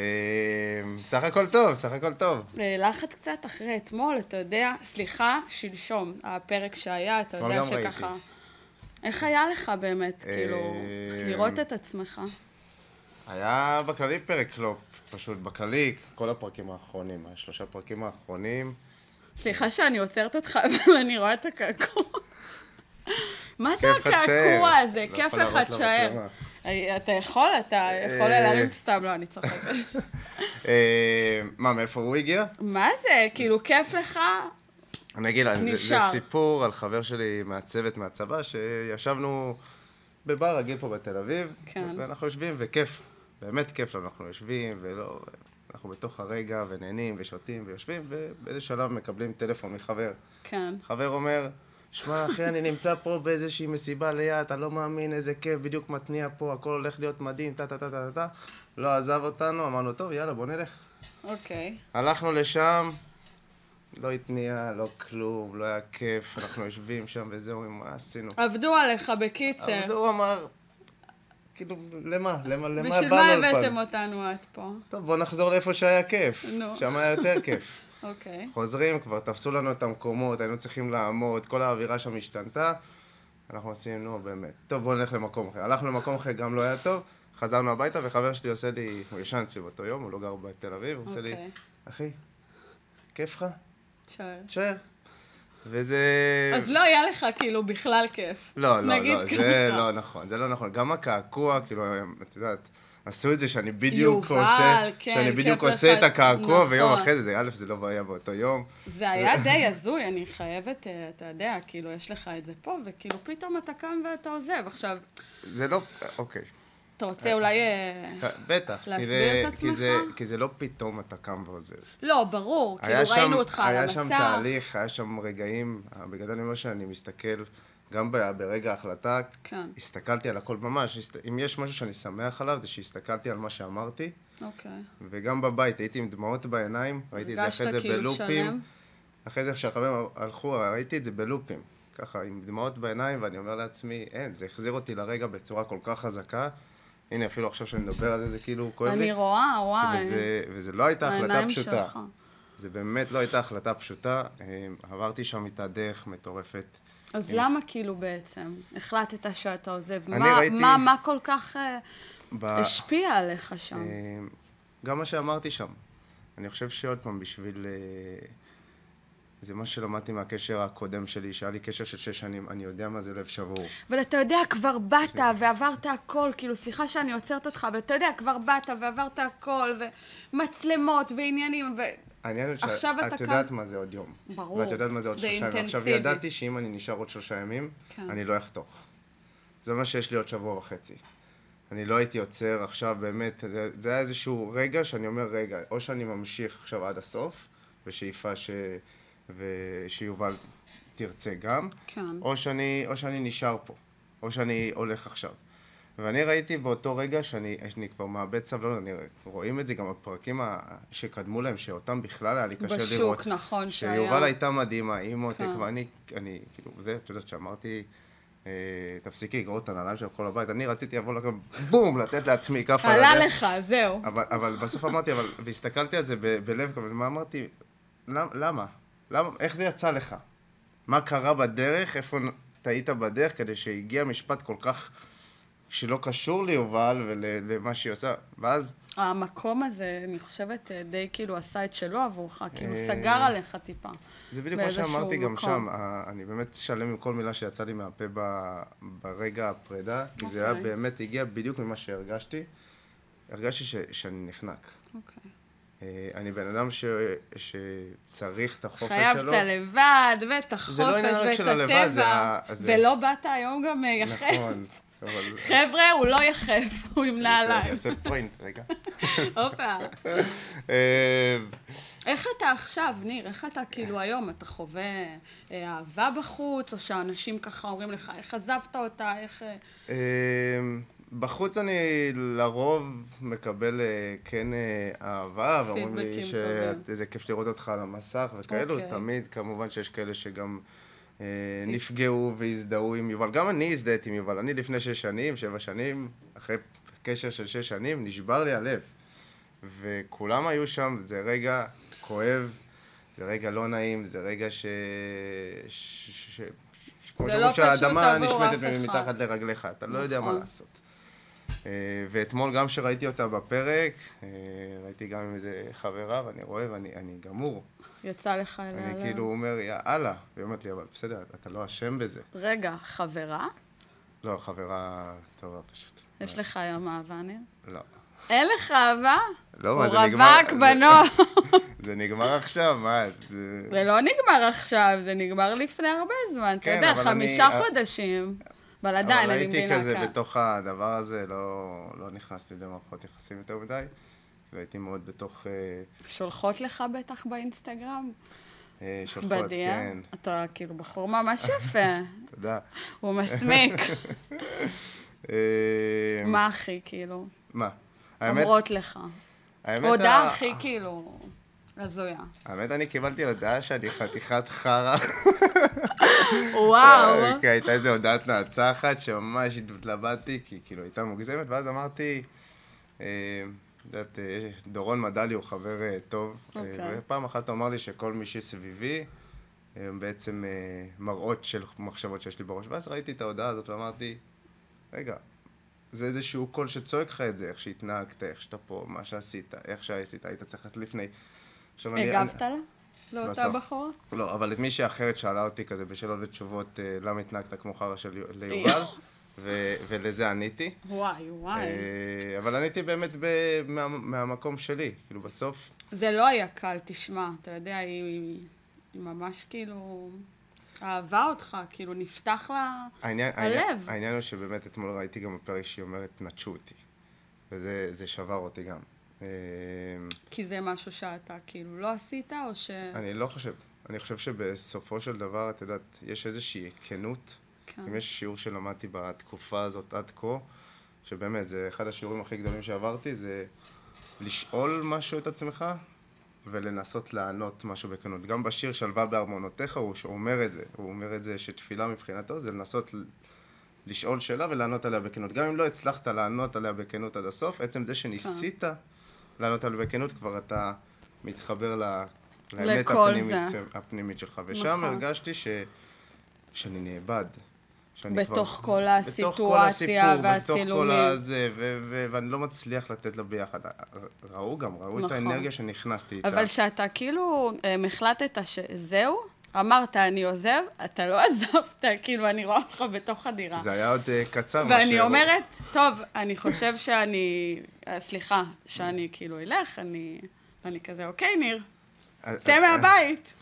Speaker 2: סך הכל טוב, סך הכל טוב.
Speaker 3: אה, לחץ קצת אחרי אתמול, אתה יודע, סליחה, שלשום, הפרק שהיה, אתה
Speaker 2: אתמול
Speaker 3: יודע
Speaker 2: גם ראיתי.
Speaker 3: שככה... איך היה לך באמת,
Speaker 2: אה,
Speaker 3: כאילו, לראות את עצמך?
Speaker 2: היה בכללי פרק לא פשוט, בכללי, כל הפרקים האחרונים, השלושה פרקים האחרונים.
Speaker 3: סליחה שאני עוצרת אותך, אבל אני רואה את הקעקוע. מה זה
Speaker 2: כיף לך
Speaker 3: הקעקוע
Speaker 2: תשאר.
Speaker 3: הזה?
Speaker 2: לא
Speaker 3: כיף
Speaker 2: יכול
Speaker 3: לך
Speaker 2: להראות
Speaker 3: תשאר.
Speaker 2: למצלמה.
Speaker 3: אה, אתה יכול? אתה יכול
Speaker 2: אה.
Speaker 3: להרים סתם, לא, אני צוחקת.
Speaker 2: אה, מה, מאיפה הוא הגיע?
Speaker 3: מה זה? כאילו, כיף לך?
Speaker 2: אני אגיד, אני- זה- זה
Speaker 3: נשאר.
Speaker 2: סיפור על חבר שלי מהצוות מהצבא, שישבנו בבר רגיל פה בתל אביב,
Speaker 3: כן.
Speaker 2: ואנחנו יושבים, וכיף, באמת כיף לנו, אנחנו יושבים, ולא... אנחנו בתוך הרגע, ונהנים, ושותים, ויושבים, ובאיזה שלב מקבלים טלפון מחבר.
Speaker 3: כן.
Speaker 2: חבר אומר, שמע, אחי, אני נמצא פה באיזושהי מסיבה ליד, אתה לא מאמין איזה כיף, בדיוק מתניע פה, הכל הולך להיות מדהים, טה טה טה טה טה. לא עזב אותנו, אמרנו, טוב, יאללה, בוא נלך.
Speaker 3: אוקיי.
Speaker 2: הלכנו לשם, לא התניע, לא כלום, לא היה כיף, אנחנו יושבים שם וזה, אומרים, מה עשינו?
Speaker 3: עבדו עליך בקיצר.
Speaker 2: אבל הוא אמר, כאילו, למה? למה למה באנו?
Speaker 3: בשביל מה
Speaker 2: לפה?"
Speaker 3: הבאתם אותנו עד פה?
Speaker 2: טוב, בוא נחזור לאיפה שהיה כיף.
Speaker 3: נו.
Speaker 2: שם היה יותר כיף.
Speaker 3: אוקיי.
Speaker 2: חוזרים, כבר תפסו לנו את המקומות, היינו צריכים לעמוד, כל האווירה שם השתנתה. אנחנו עושים, נו באמת, טוב בוא נלך למקום אחר. הלכנו למקום אחר, גם לא היה טוב, חזרנו הביתה וחבר שלי עושה לי, הוא ישן אצלי באותו יום, הוא לא גר בתל אביב, הוא עושה לי,
Speaker 3: אוקיי.
Speaker 2: אחי, כיף לך?
Speaker 3: שואל.
Speaker 2: תשאר. וזה...
Speaker 3: אז לא היה לך כאילו בכלל כיף.
Speaker 2: כן. לא, לא,
Speaker 3: נגיד
Speaker 2: לא, זה
Speaker 3: ככה.
Speaker 2: לא נכון, זה לא נכון. גם הקעקוע, כאילו, את יודעת, עשו את זה שאני בדיוק
Speaker 3: יובל,
Speaker 2: עושה,
Speaker 3: כן,
Speaker 2: שאני
Speaker 3: כיף
Speaker 2: בדיוק
Speaker 3: לך.
Speaker 2: עושה את הקעקוע, ויום
Speaker 3: נכון.
Speaker 2: אחרי זה, זה, א', זה לא היה באותו יום.
Speaker 3: זה היה די הזוי, אני חייבת, אה, אתה יודע, כאילו, יש לך את זה פה, וכאילו פתאום אתה קם ואתה עוזב. עכשיו,
Speaker 2: זה לא, אוקיי.
Speaker 3: אתה רוצה אולי... אה,
Speaker 2: בטח, כי
Speaker 3: להסביר
Speaker 2: זה-
Speaker 3: את
Speaker 2: כי זה-
Speaker 3: עצמך?
Speaker 2: כי זה לא פתאום אתה קם ועוזב.
Speaker 3: לא, ברור, כאילו
Speaker 2: היה שם-
Speaker 3: ראינו אותך על
Speaker 2: היה
Speaker 3: המסך.
Speaker 2: שם תהליך, היה שם רגעים, בגדול אני אומר שאני מסתכל, גם ב- ברגע ההחלטה,
Speaker 3: כן.
Speaker 2: הסתכלתי על הכל ממש, הסת- אם יש משהו שאני שמח עליו, זה שהסתכלתי על מה שאמרתי,
Speaker 3: אוקיי.
Speaker 2: וגם בבית הייתי עם דמעות בעיניים, ראיתי את זה אחרי
Speaker 3: הרגשת
Speaker 2: זה
Speaker 3: כאילו
Speaker 2: בלופים.
Speaker 3: שלם?
Speaker 2: אחרי זה כשהחברים הלכו, ראיתי את זה בלופים. ככה, עם דמעות בעיניים, ואני אומר לעצמי, אין, זה החזיר אותי לרגע בצורה כל כך חזקה. הנה, אפילו עכשיו שאני מדבר על זה, זה כאילו כואב לי.
Speaker 3: אני רואה, וואי.
Speaker 2: וזה, וזה לא הייתה החלטה
Speaker 3: העיניים
Speaker 2: פשוטה.
Speaker 3: שלך.
Speaker 2: זה באמת לא הייתה החלטה פשוטה. אה, עברתי שם איתה דרך מטורפת.
Speaker 3: אז למה כאילו בעצם החלטת שאתה עוזב?
Speaker 2: כן. אני
Speaker 3: מה-
Speaker 2: ראיתי-
Speaker 3: מה מה כל כך אה,
Speaker 2: ב-
Speaker 3: השפיע עליך שם?
Speaker 2: אה, גם מה שאמרתי שם. אני חושב שעוד פעם, בשביל... אה, זה מה שלמדתי מהקשר הקודם שלי, שהיה לי קשר של שש שנים, אני יודע מה זה לב שבור.
Speaker 3: אבל אתה יודע, כבר באת ועברת הכל, כאילו, סליחה שאני עוצרת אותך, אבל אתה יודע, כבר באת ועברת הכל, ומצלמות ועניינים, ו...
Speaker 2: העניין הוא
Speaker 3: עכשיו
Speaker 2: שאת
Speaker 3: אתה
Speaker 2: את
Speaker 3: קם-
Speaker 2: יודעת מה זה עוד יום.
Speaker 3: ברור.
Speaker 2: ואת יודעת מה זה עוד
Speaker 3: זה
Speaker 2: שלושה ימים. עכשיו,
Speaker 3: אינטנסיבי.
Speaker 2: ידעתי שאם אני נשאר עוד שלושה ימים,
Speaker 3: כן.
Speaker 2: אני לא אחתוך. זה אומר שיש לי עוד שבוע וחצי. אני לא הייתי עוצר עכשיו, באמת, זה, זה היה איזשהו רגע שאני אומר, רגע, או שאני ממשיך עכשיו עד הסוף, בשאיפה ש... ו... שיובל תרצה גם,
Speaker 3: כן.
Speaker 2: או, שאני, או שאני נשאר פה, או שאני הולך עכשיו. ואני ראיתי באותו רגע שאני אני כבר מאבד סבלנות, אני רואים את זה גם בפרקים ה- שקדמו להם, שאותם בכלל היה לי קשה
Speaker 3: בשוק,
Speaker 2: לראות.
Speaker 3: נכון, שהיה.
Speaker 2: שיובל הייתה מדהימה, היא מותק,
Speaker 3: כן.
Speaker 2: ואני, אני, כאילו, זה, את יודעת, שאמרתי, אה, תפסיקי לגרור את הנעליים של כל הבית, אני רציתי לבוא לכם, בום, לתת לעצמי כף על
Speaker 3: עלה
Speaker 2: הדרך.
Speaker 3: לך, זהו.
Speaker 2: אבל, אבל בסוף אמרתי, אבל, והסתכלתי על זה ב, בלב כבד, מה אמרתי, "למ- למה? למה? איך זה יצא לך? מה קרה בדרך? איפה נ- טעית בדרך כדי שהגיע משפט כל כך, שלא קשור ליובל ולמה שהיא עושה? ואז,
Speaker 3: המקום הזה, אני חושבת, אה, די כאילו עשה את שלו עבורך, כאילו
Speaker 2: אה,
Speaker 3: סגר עליך טיפה.
Speaker 2: זה בדיוק מה
Speaker 3: באיזשהו
Speaker 2: שאמרתי גם
Speaker 3: מקום.
Speaker 2: שם, ה- אני באמת שלם עם כל מילה שיצאה לי מהפה ב- ברגע הפרידה, כי זה היה
Speaker 3: אוקיי.
Speaker 2: באמת הגיע בדיוק ממה שהרגשתי. הרגשתי ש, שאני נחנק.
Speaker 3: אוקיי.
Speaker 2: אה, אני בן אדם ש, שצריך את החופש
Speaker 3: חייב
Speaker 2: שלו.
Speaker 3: את הלבד, ואת החופש,
Speaker 2: זה לא עניין רק
Speaker 3: ואת
Speaker 2: של הלבד, זה
Speaker 3: הטבע,
Speaker 2: ה- זה-
Speaker 3: ולא באת היום גם אה, יחף.
Speaker 2: נכון, אבל...
Speaker 3: חבר'ה, הוא לא יחף, הוא עם
Speaker 2: אני אעשה- אני
Speaker 3: נעליים.
Speaker 2: אעשה פוינט, רגע.
Speaker 3: הופה.
Speaker 2: אה,
Speaker 3: איך אתה עכשיו, ניר? איך אתה כאילו היום? אתה חווה אה, אהבה בחוץ, או שאנשים ככה אומרים לך, איך עזבת אותה, איך... אה,
Speaker 2: אה, בחוץ אני לרוב מקבל אה, כן אה, אהבה, ואומרים לי
Speaker 3: פידבקים טובים.
Speaker 2: שאיזה כיף לראות אותך על המסך וכאלו,
Speaker 3: אוקיי.
Speaker 2: תמיד, כמובן שיש כאלה שגם אה, נפגעו והזדהו עם יובל. גם אני הזדהיתי עם יובל, אני לפני שש שנים, שבע שנים, אחרי קשר של שש שנים, נשבר לי הלב. וכולם היו שם, זה רגע כואב, זה רגע לא נעים, זה רגע ש... ש... ש... ש... כמו
Speaker 3: זה
Speaker 2: שאומרים
Speaker 3: לא פשוט
Speaker 2: שהאדמה
Speaker 3: עבור
Speaker 2: נשמטת
Speaker 3: אף אחד.
Speaker 2: מתחת לרגליך, אתה לא יודע מה
Speaker 3: נכון.
Speaker 2: לעשות. אה, ואתמול גם שראיתי אותה בפרק, אה, ראיתי גם עם איזה חברה, ואני רואה ואני אני גמור.
Speaker 3: יצא לך אליה?
Speaker 2: אני
Speaker 3: לא?
Speaker 2: כאילו אומר, יא אללה. והיא אומרת לי, אבל בסדר, אתה לא אשם בזה.
Speaker 3: רגע, חברה?
Speaker 2: לא, חברה טובה פשוט.
Speaker 3: יש לך היום אהבה, ניר?
Speaker 2: לא.
Speaker 3: אין לך אהבה?
Speaker 2: לא,
Speaker 3: הוא
Speaker 2: מה, זה נגמר-
Speaker 3: רווק
Speaker 2: זה-
Speaker 3: בנו.
Speaker 2: זה נגמר עכשיו, מה? זה-
Speaker 3: זה לא נגמר עכשיו, זה נגמר לפני הרבה זמן. אתה
Speaker 2: כן,
Speaker 3: יודע,
Speaker 2: אבל
Speaker 3: חמישה
Speaker 2: אני-
Speaker 3: חודשים. אבל עדיין, אני מבינה
Speaker 2: אבל הייתי
Speaker 3: כן.
Speaker 2: כזה בתוך הדבר הזה, לא, לא נכנסתי למערכות יחסים יותר מדי. והייתי מאוד בתוך אה,
Speaker 3: שולחות לך בטח באינסטגרם?
Speaker 2: אה, שולחות,
Speaker 3: בדיעה?
Speaker 2: כן,
Speaker 3: אתה כאילו בחור ממש יפה.
Speaker 2: תודה.
Speaker 3: הוא מסמיק.
Speaker 2: אה,
Speaker 3: מה הכי, כאילו?
Speaker 2: מה? האמת,
Speaker 3: אומרות לך.
Speaker 2: האמת
Speaker 3: הודעה
Speaker 2: ה-
Speaker 3: הכי, כאילו... הזויה.
Speaker 2: האמת, אני קיבלתי הודעה שאני חתיכת חרא.
Speaker 3: וואו.
Speaker 2: כי אה, הייתה איזו הודעת נאצה אחת שממש התלבטתי, כי כאילו הייתה מוגזמת, ואז אמרתי, אה, את יודעת, אה, דורון מדלי הוא חבר אה, טוב, אה,
Speaker 3: אוקיי.
Speaker 2: ופעם אחת הוא אמר לי שכל מי שסביבי, הם בעצם אה, מראות של מחשבות שיש לי בראש, ואז ראיתי את ההודעה הזאת ואמרתי, רגע, זה איזשהו קול שצועק לך את זה, איך שהתנהגת, איך שאתה פה, מה שעשית, איך שעשית, היית צריך לתת לפני. עכשיו אני-
Speaker 3: הגבת לה? לאותה
Speaker 2: בסוף.
Speaker 3: בחורה?
Speaker 2: לא, אבל את מישהי אחרת שאלה אותי כזה בשאלות ותשובות, אה, למה התנהגת כמו חרא של יו- ליובל, ו- ולזה עניתי.
Speaker 3: וואי, וואי.
Speaker 2: אה, אבל עניתי באמת ב- מה- מהמקום שלי, כאילו בסוף,
Speaker 3: זה לא היה קל, תשמע. אתה יודע, היא, היא, היא ממש כאילו אהבה אותך, כאילו נפתח לה...
Speaker 2: העניין,
Speaker 3: הלב.
Speaker 2: העניין, העניין הוא שבאמת אתמול ראיתי גם בפרק שהיא אומרת, נטשו אותי, וזה זה שבר אותי גם. אה,
Speaker 3: כי זה משהו שאתה כאילו לא עשית, או ש...
Speaker 2: אני לא חושב, אני חושב שבסופו של דבר, את יודעת, יש איזושהי כנות
Speaker 3: כן.
Speaker 2: אם יש שיעור שלמדתי בתקופה הזאת עד כה, שבאמת, זה אחד השיעורים הכי גדולים שעברתי, זה לשאול משהו את עצמך ולנסות לענות משהו בכנות. גם בשיר שלווה בארמונותיך, הוא אומר את זה. הוא אומר את זה שתפילה מבחינתו זה לנסות ל- לשאול שאלה ולענות עליה בכנות. גם אם לא הצלחת לענות עליה בכנות עד הסוף, עצם זה שניסית
Speaker 3: כן.
Speaker 2: לענות עליה בכנות, כבר אתה מתחבר ל... לאמת
Speaker 3: לכל
Speaker 2: הפנימית,
Speaker 3: זה.
Speaker 2: הפנימית שלך. ושם
Speaker 3: נכון.
Speaker 2: הרגשתי ש... שאני נאבד. שאני
Speaker 3: בתוך
Speaker 2: כבר...
Speaker 3: כל
Speaker 2: בתוך כל
Speaker 3: הסיטואציה
Speaker 2: הסיפור, בתוך כל
Speaker 3: והצילומים.
Speaker 2: הזה, ו- ו- ואני לא מצליח לתת לה ביחד. ראו גם, ראו את
Speaker 3: נכון.
Speaker 2: האנרגיה שנכנסתי איתה.
Speaker 3: אבל שאתה כאילו אמ, החלטת שזהו, אמרת אני עוזב, אתה לא עזבת, כאילו אני רואה אותך בתוך הדירה.
Speaker 2: זה היה עוד אה, קצר. מה
Speaker 3: ואני
Speaker 2: שהראו.
Speaker 3: אומרת, טוב, אני חושב שאני, אה, סליחה, שאני כאילו אלך, אני, ואני כזה, אוקיי, ניר,
Speaker 2: אה,
Speaker 3: צא
Speaker 2: אה,
Speaker 3: מהבית.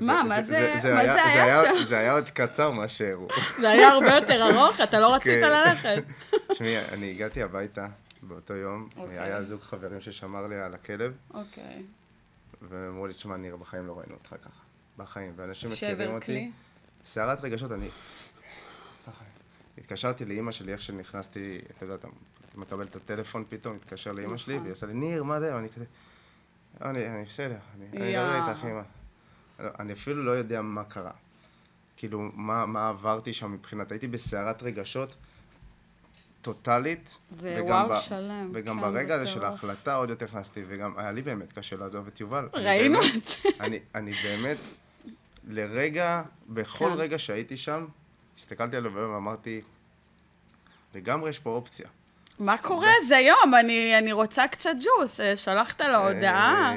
Speaker 3: מה, מה זה, מה זה היה שם?
Speaker 2: זה היה עוד קצר מה שהראו.
Speaker 3: זה היה הרבה יותר ארוך, אתה לא רצית
Speaker 2: כן.
Speaker 3: ללכת.
Speaker 2: תשמעי, אני הגעתי הביתה באותו יום,
Speaker 3: אוקיי.
Speaker 2: היה זוג חברים ששמר לי על הכלב,
Speaker 3: אוקיי.
Speaker 2: והם אמרו לי, תשמע, ניר, בחיים לא ראינו אותך ככה. בחיים, ואנשים מכירים
Speaker 3: שבר
Speaker 2: אותי.
Speaker 3: כלי.
Speaker 2: סערת רגשות, אני... התקשרתי לאימא שלי, איך שנכנסתי, אתה יודע, אתה מקבל את הטלפון פתאום, מתקשר לאימא שלי,
Speaker 3: נכון.
Speaker 2: והיא עושה לי, ניר, מה זה? ואני כזה, אני, אני בסדר, אני אני
Speaker 3: יאה.
Speaker 2: מדבר איתך, אימא. לא, אני אפילו לא יודע מה קרה. כאילו, מה, מה עברתי שם מבחינת, הייתי בסערת רגשות טוטאלית.
Speaker 3: זה
Speaker 2: וגם
Speaker 3: וואו
Speaker 2: ב-
Speaker 3: שלם,
Speaker 2: וגם
Speaker 3: כן,
Speaker 2: ברגע הזה של
Speaker 3: בטירוף.
Speaker 2: ההחלטה עוד יותר נכנסתי, וגם היה לי באמת קשה לעזוב את יובל. אני
Speaker 3: ראינו
Speaker 2: באמת-
Speaker 3: את זה.
Speaker 2: אני, אני באמת, לרגע, בכל
Speaker 3: כן.
Speaker 2: רגע שהייתי שם, הסתכלתי עליו ואמרתי, לגמרי יש פה אופציה.
Speaker 3: מה קורה? זה יום, אני- אני רוצה קצת ג'וס. אה, שלחת לה הודעה?
Speaker 2: אה,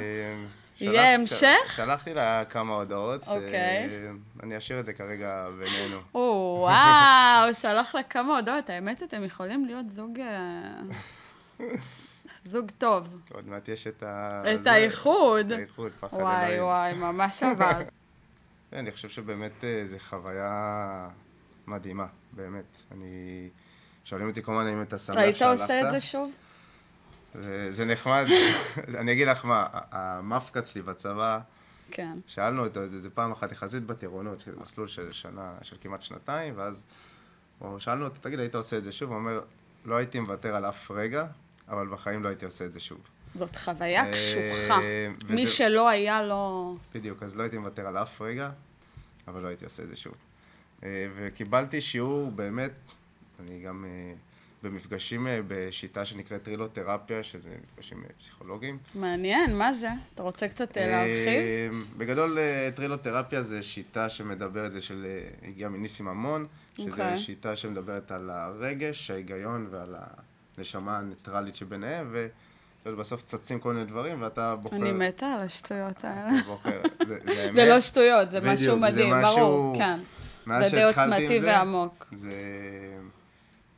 Speaker 3: יהיה
Speaker 2: שלח-
Speaker 3: המשך?
Speaker 2: של- שלחתי לה כמה הודעות.
Speaker 3: אוקיי.
Speaker 2: אה, אני אשאיר את זה כרגע בינינו.
Speaker 3: או, וואו, שלח לה כמה הודעות. האמת, אתם יכולים להיות זוג... אה, זוג טוב.
Speaker 2: עוד מעט יש את ה...
Speaker 3: את
Speaker 2: אה, זה-
Speaker 3: האיחוד.
Speaker 2: את האיחוד, פחד
Speaker 3: וואי,
Speaker 2: אלוהים.
Speaker 3: וואי, ממש אבל.
Speaker 2: כן, אני חושב שבאמת אה, זו חוויה מדהימה, באמת. אני... שואלים אותי כל הזמן אם אתה שמח
Speaker 3: היית
Speaker 2: שהלכת.
Speaker 3: עושה את זה שוב?
Speaker 2: זה- זה נחמד. אני אגיד לך מה, ה- המפקד שלי בצבא,
Speaker 3: כן.
Speaker 2: שאלנו אותו את זה, זה פעם אחת יחסית בטירונות, שזה מסלול של שנה, של כמעט שנתיים, ואז או שאלנו אותו, תגיד, היית עושה את זה שוב? הוא אומר, לא הייתי מוותר על אף רגע, אבל בחיים לא הייתי עושה את זה שוב.
Speaker 3: זאת חוויה
Speaker 2: אה,
Speaker 3: קשוחה.
Speaker 2: וזה-
Speaker 3: מי שלא היה לו...
Speaker 2: בדיוק, אז לא הייתי מוותר על אף רגע, אבל לא הייתי עושה את זה שוב. אה, וקיבלתי שיעור באמת, אני גם אה, במפגשים אה, בשיטה שנקראת טרילותרפיה, שזה מפגשים אה, פסיכולוגיים.
Speaker 3: מעניין, מה זה? אתה רוצה קצת אה, להרחיב?
Speaker 2: אה, בגדול, אה, טרילותרפיה זה שיטה שמדברת, זה של... אה, הגיעה מניסים ממון, שזה
Speaker 3: אוקיי.
Speaker 2: שיטה שמדברת על הרגש, ההיגיון ועל הנשמה הניטרלית שביניהם, ו... אתה יודע, בסוף צצים כל מיני דברים, ואתה בוחר...
Speaker 3: אני מתה על השטויות האלה.
Speaker 2: אתה בוחר. זה, זה,
Speaker 3: זה
Speaker 2: האמת.
Speaker 3: לא שטויות, זה
Speaker 2: בדיוק,
Speaker 3: משהו
Speaker 2: זה
Speaker 3: מדהים,
Speaker 2: משהו-
Speaker 3: ברור, כן.
Speaker 2: מאז
Speaker 3: זה די
Speaker 2: שהתחלתי עם
Speaker 3: עוצמתי
Speaker 2: זה,
Speaker 3: ועמוק.
Speaker 2: זה,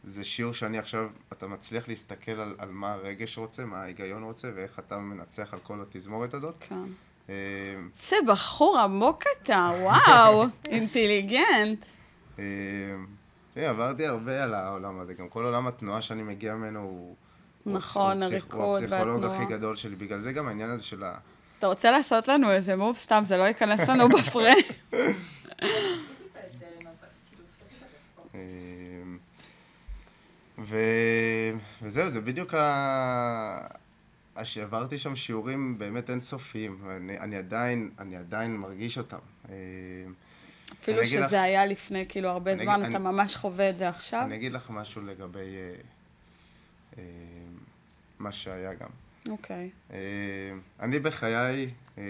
Speaker 2: זה שיעור שאני עכשיו, אתה מצליח להסתכל על, על מה הרגש רוצה, מה ההיגיון רוצה, ואיך אתה מנצח על כל התזמורת הזאת.
Speaker 3: כן.
Speaker 2: אה,
Speaker 3: זה בחור עמוק אתה, וואו, אינטליגנט.
Speaker 2: אה, תראי, עברתי הרבה על העולם הזה, גם כל עולם התנועה שאני מגיע ממנו הוא... הוא
Speaker 3: נכון,
Speaker 2: הפסיכ- הוא
Speaker 3: הריקוד
Speaker 2: הפסיכולוג
Speaker 3: והתנועה.
Speaker 2: הכי גדול שלי, בגלל זה גם העניין הזה של ה...
Speaker 3: אתה רוצה לעשות לנו איזה מוב סתם, זה לא ייכנס לנו בפריים.
Speaker 2: אה, ו... וזהו, זה בדיוק ה... אז עברתי שם שיעורים באמת אינסופיים, אני, אני עדיין, אני עדיין מרגיש אותם. אה,
Speaker 3: אפילו
Speaker 2: אני אגיד לך-
Speaker 3: שזה היה לפני כאילו הרבה
Speaker 2: אני אגיד-
Speaker 3: זמן,
Speaker 2: אני-
Speaker 3: אתה ממש חווה את זה עכשיו?
Speaker 2: אני אגיד לך משהו לגבי אה, אה, מה שהיה גם.
Speaker 3: אוקיי.
Speaker 2: אה, אני בחיי, אה,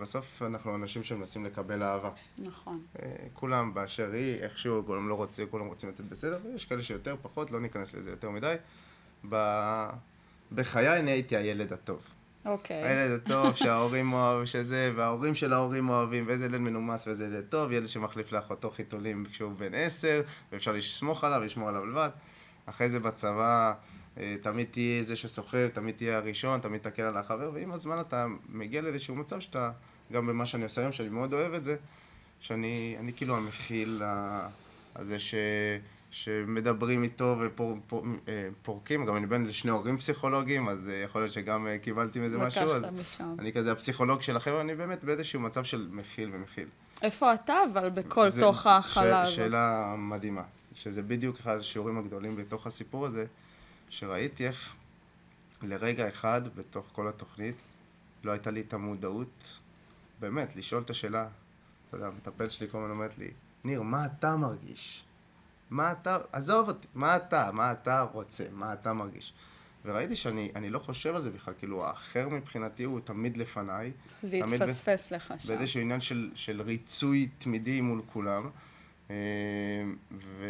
Speaker 2: בסוף אנחנו אנשים שמנסים לקבל אהבה.
Speaker 3: נכון.
Speaker 2: אה, כולם באשר היא, איכשהו, כולם לא רוצים, כולם רוצים לצאת בסדר, ויש כאלה שיותר, פחות, לא ניכנס לזה יותר מדי. ב... בחיי אני הייתי הילד הטוב.
Speaker 3: אוקיי.
Speaker 2: הילד הטוב שההורים אוהבים, שזה, וההורים של ההורים אוהבים, ואיזה ילד מנומס ואיזה ילד טוב, ילד שמחליף לאחותו חיתולים כשהוא בן עשר, ואפשר לסמוך עליו, לשמור עליו לבד. אחרי זה בצבא, אה, תמיד תהיה זה שסוחב, תמיד תהיה הראשון, תמיד תקל על החבר, ועם הזמן אתה מגיע לאיזשהו מצב שאתה, גם במה שאני עושה היום, שאני מאוד אוהב את זה, שאני אני כאילו המכיל ה- הזה ש, שמדברים איתו ופורקים, גם אני בן לשני הורים פסיכולוגים, אז אה, יכול להיות שגם אה, קיבלתי מזה משהו, אז
Speaker 3: לקחת משם.
Speaker 2: אני כזה הפסיכולוג של החבר'ה, אני באמת באיזשהו מצב של מכיל ומכיל.
Speaker 3: איפה אתה אבל בכל
Speaker 2: זה
Speaker 3: תוך ההכלה
Speaker 2: ש-
Speaker 3: הזאת?
Speaker 2: שאלה מדהימה, שזה בדיוק אחד השיעורים הגדולים בתוך הסיפור הזה, שראיתי איך לרגע אחד בתוך כל התוכנית לא הייתה לי את המודעות, באמת, לשאול את השאלה, אתה יודע, המטפל שלי כל הזמן אומרת לי, ניר, מה אתה מרגיש? מה אתה, עזוב אותי, מה אתה, מה אתה רוצה, מה אתה מרגיש? וראיתי שאני אני לא חושב על זה בכלל, כאילו האחר מבחינתי הוא תמיד לפניי.
Speaker 3: זה
Speaker 2: תמיד ב-
Speaker 3: התפספס לך שם.
Speaker 2: באיזשהו עניין של, של ריצוי תמידי מול כולם. אה, ו...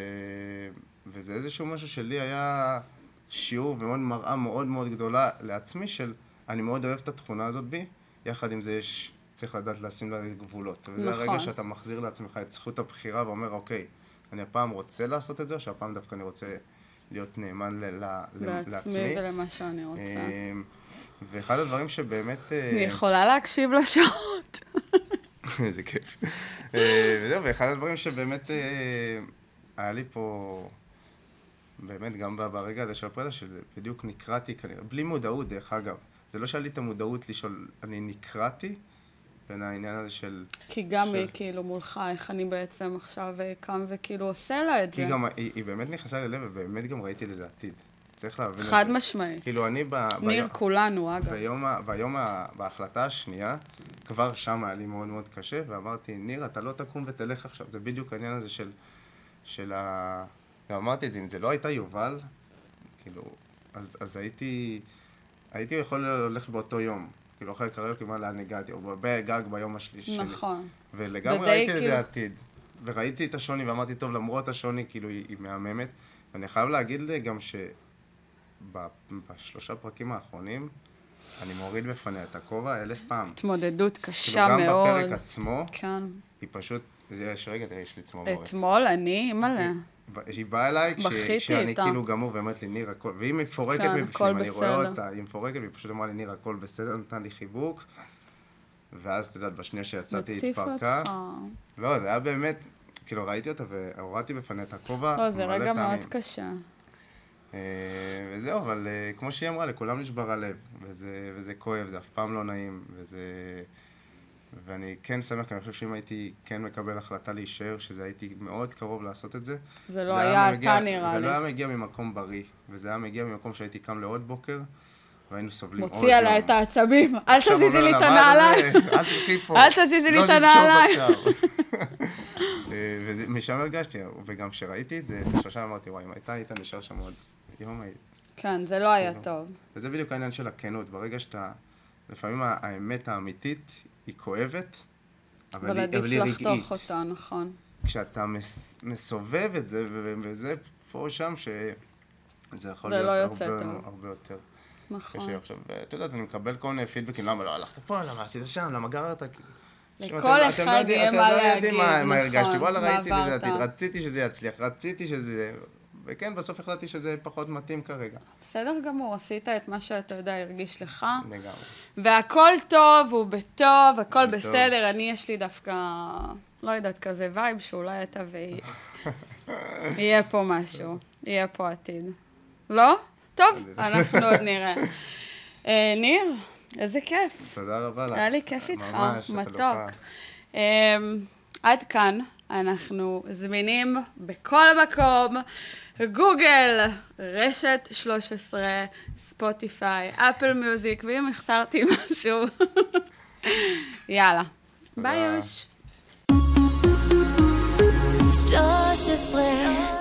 Speaker 2: וזה איזשהו משהו שלי היה שיעור ומאוד מראה מאוד מאוד גדולה לעצמי של אני מאוד אוהב את התכונה הזאת בי, יחד עם זה יש, צריך לדעת לשים לה גבולות. וזה
Speaker 3: נכון.
Speaker 2: הרגע שאתה מחזיר לעצמך את זכות הבחירה ואומר, אוקיי, אני הפעם רוצה לעשות את זה, או שהפעם דווקא אני רוצה להיות נאמן ל- ל- לעצמי.
Speaker 3: לעצמי ולמה שאני רוצה.
Speaker 2: אה, ואחד הדברים שבאמת... אה,
Speaker 3: אני יכולה להקשיב לשעות.
Speaker 2: איזה כיף. אה, וזהו, ואחד הדברים שבאמת אה, היה לי פה, באמת, גם ב- ברגע הזה של הפרדה, שזה בדיוק נקרעתי כנראה, בלי מודעות, דרך אגב. זה לא שהיה לי את המודעות לשאול, אני נקרעתי בין העניין הזה של...
Speaker 3: כי גם
Speaker 2: של-
Speaker 3: היא כאילו מולך, איך אני בעצם עכשיו אה, קם וכאילו עושה לה את זה.
Speaker 2: כי גם היא, היא באמת נכנסה ללב, ובאמת גם ראיתי לזה עתיד. צריך להבין את זה.
Speaker 3: חד משמעית.
Speaker 2: כאילו, אני ב...
Speaker 3: ניר,
Speaker 2: ב-
Speaker 3: כולנו, אגב.
Speaker 2: ביום, ה- ביום ה, בהחלטה השנייה, כבר שם היה לי מאוד מאוד קשה, ואמרתי, ניר, אתה לא תקום ותלך עכשיו. זה בדיוק העניין הזה של... של ה... גם אמרתי את זה, אם זה לא הייתה יובל, כאילו, אז, אז הייתי... הייתי יכול ללכת באותו יום. כאילו, אחרי קריוקי, מה לאן הגעתי, או בגג ביום השלישי.
Speaker 3: נכון. ודי
Speaker 2: ולגמרי ראיתי
Speaker 3: כאילו-
Speaker 2: לזה עתיד. וראיתי את השוני ואמרתי, טוב, למרות השוני, כאילו, היא, היא מהממת. ואני חייב להגיד לי גם שבשלושה פרקים האחרונים, אני מוריד בפניה את הכובע אלף פעם.
Speaker 3: התמודדות
Speaker 2: כאילו,
Speaker 3: קשה
Speaker 2: גם בפרק
Speaker 3: מאוד.
Speaker 2: עצמו,
Speaker 3: כן.
Speaker 2: היא פשוט... זה- יש רגע, תראה, יש לי צמרמורת.
Speaker 3: אתמול אני, אימא'לה.
Speaker 2: היא באה אליי כש-
Speaker 3: בכיתי
Speaker 2: כשאני
Speaker 3: איתה.
Speaker 2: כאילו גמור, ואומרת לי, ניר, הכל... והיא מפורקת
Speaker 3: כן,
Speaker 2: בי
Speaker 3: הכל
Speaker 2: בפנים, אני רואה
Speaker 3: בסדר.
Speaker 2: אותה, היא מפורקת, והיא פשוט אמרה לי, ניר, הכל בסדר, נתן לי חיבוק. ואז, את יודעת, בשנייה שיצאתי, היא
Speaker 3: הציפה
Speaker 2: התפרקה.
Speaker 3: אותך.
Speaker 2: לא, זה היה באמת, כאילו ראיתי אותה והורדתי בפניה את הכובע
Speaker 3: לא, זה
Speaker 2: מלא
Speaker 3: רגע
Speaker 2: פעמים.
Speaker 3: מאוד קשה.
Speaker 2: אה, וזהו, אבל אה, כמו שהיא אמרה, לכולם נשבר הלב, וזה, וזה כואב, זה אף פעם לא נעים, וזה... ואני כן שמח, כי אני חושב שאם הייתי כן מקבל החלטה להישאר, שזה הייתי מאוד קרוב לעשות את זה.
Speaker 3: זה לא היה אתה נראה
Speaker 2: זה לא היה
Speaker 3: לי.
Speaker 2: מגיע ממקום בריא, וזה היה מגיע ממקום שהייתי קם לעוד בוקר, והיינו סובלים עוד יום.
Speaker 3: מוציא עליי את העצבים. אל
Speaker 2: עכשיו
Speaker 3: תזיזי
Speaker 2: אומר
Speaker 3: לי את
Speaker 2: לה, "מה
Speaker 3: הנעליים.
Speaker 2: זה? אל תלכי פה.
Speaker 3: אל תזיזי לי את הנעליים."
Speaker 2: לא לנשום עכשיו. אה, ומשם הרגשתי, וגם כשראיתי את זה, שלושה אמרתי, וואי, אם הייתה, היית נשאר שם עוד יום. היית."
Speaker 3: כן, זה לא היה טוב.
Speaker 2: וזה בדיוק העניין של הכנות, ברגע שאתה, לפעמים ה- האמת האמיתית היא כואבת, אבל
Speaker 3: אבל
Speaker 2: היא
Speaker 3: עדיף
Speaker 2: אבל היא
Speaker 3: לחתוך
Speaker 2: רגעית.
Speaker 3: אותה, נכון.
Speaker 2: כשאתה מס- מסובב את זה, ו- ו- וזה פה או שם, שזה יכול
Speaker 3: זה
Speaker 2: להיות
Speaker 3: לא יוצא
Speaker 2: הרבה-
Speaker 3: טוב.
Speaker 2: הרבה יותר.
Speaker 3: נכון.
Speaker 2: קשה עכשיו, ואת יודעת, אני מקבל כל מיני פידבקים, למה לא הלכת פה, למה עשית שם, למה גררת?
Speaker 3: לכל
Speaker 2: אתם
Speaker 3: אחד
Speaker 2: לא- אתם לא יודעים-
Speaker 3: יהיה מה
Speaker 2: אתם לא יודעים
Speaker 3: להגיד,
Speaker 2: מה- מה
Speaker 3: נכון,
Speaker 2: הרגשתי, וואלה,
Speaker 3: מה
Speaker 2: ראיתי לזה
Speaker 3: עברת.
Speaker 2: עתיד, רציתי שזה יצליח, רציתי שזה... וכן, בסוף החלטתי שזה פחות מתאים כרגע.
Speaker 3: בסדר גמור, עשית את מה שאתה יודע, הרגיש לך.
Speaker 2: לגמרי.
Speaker 3: והכל טוב, הוא בטוב, הכל
Speaker 2: בטוב.
Speaker 3: בסדר. אני, יש לי דווקא, לא יודעת, כזה וייב שאולי אתה והיא... יהיה פה משהו, יהיה פה עתיד. לא? טוב, אנחנו עוד נראה. אה, ניר, איזה כיף.
Speaker 2: תודה רבה לך.
Speaker 3: היה לי כיף איתך,
Speaker 2: ממש, את
Speaker 3: מתוק.
Speaker 2: אלופה.
Speaker 3: אמ, עד כאן אנחנו זמינים בכל מקום, גוגל, רשת 13, ספוטיפיי, אפל מיוזיק, ואם החסרתי משהו, יאללה. ביי
Speaker 2: תודה.
Speaker 3: יוש.
Speaker 5: 13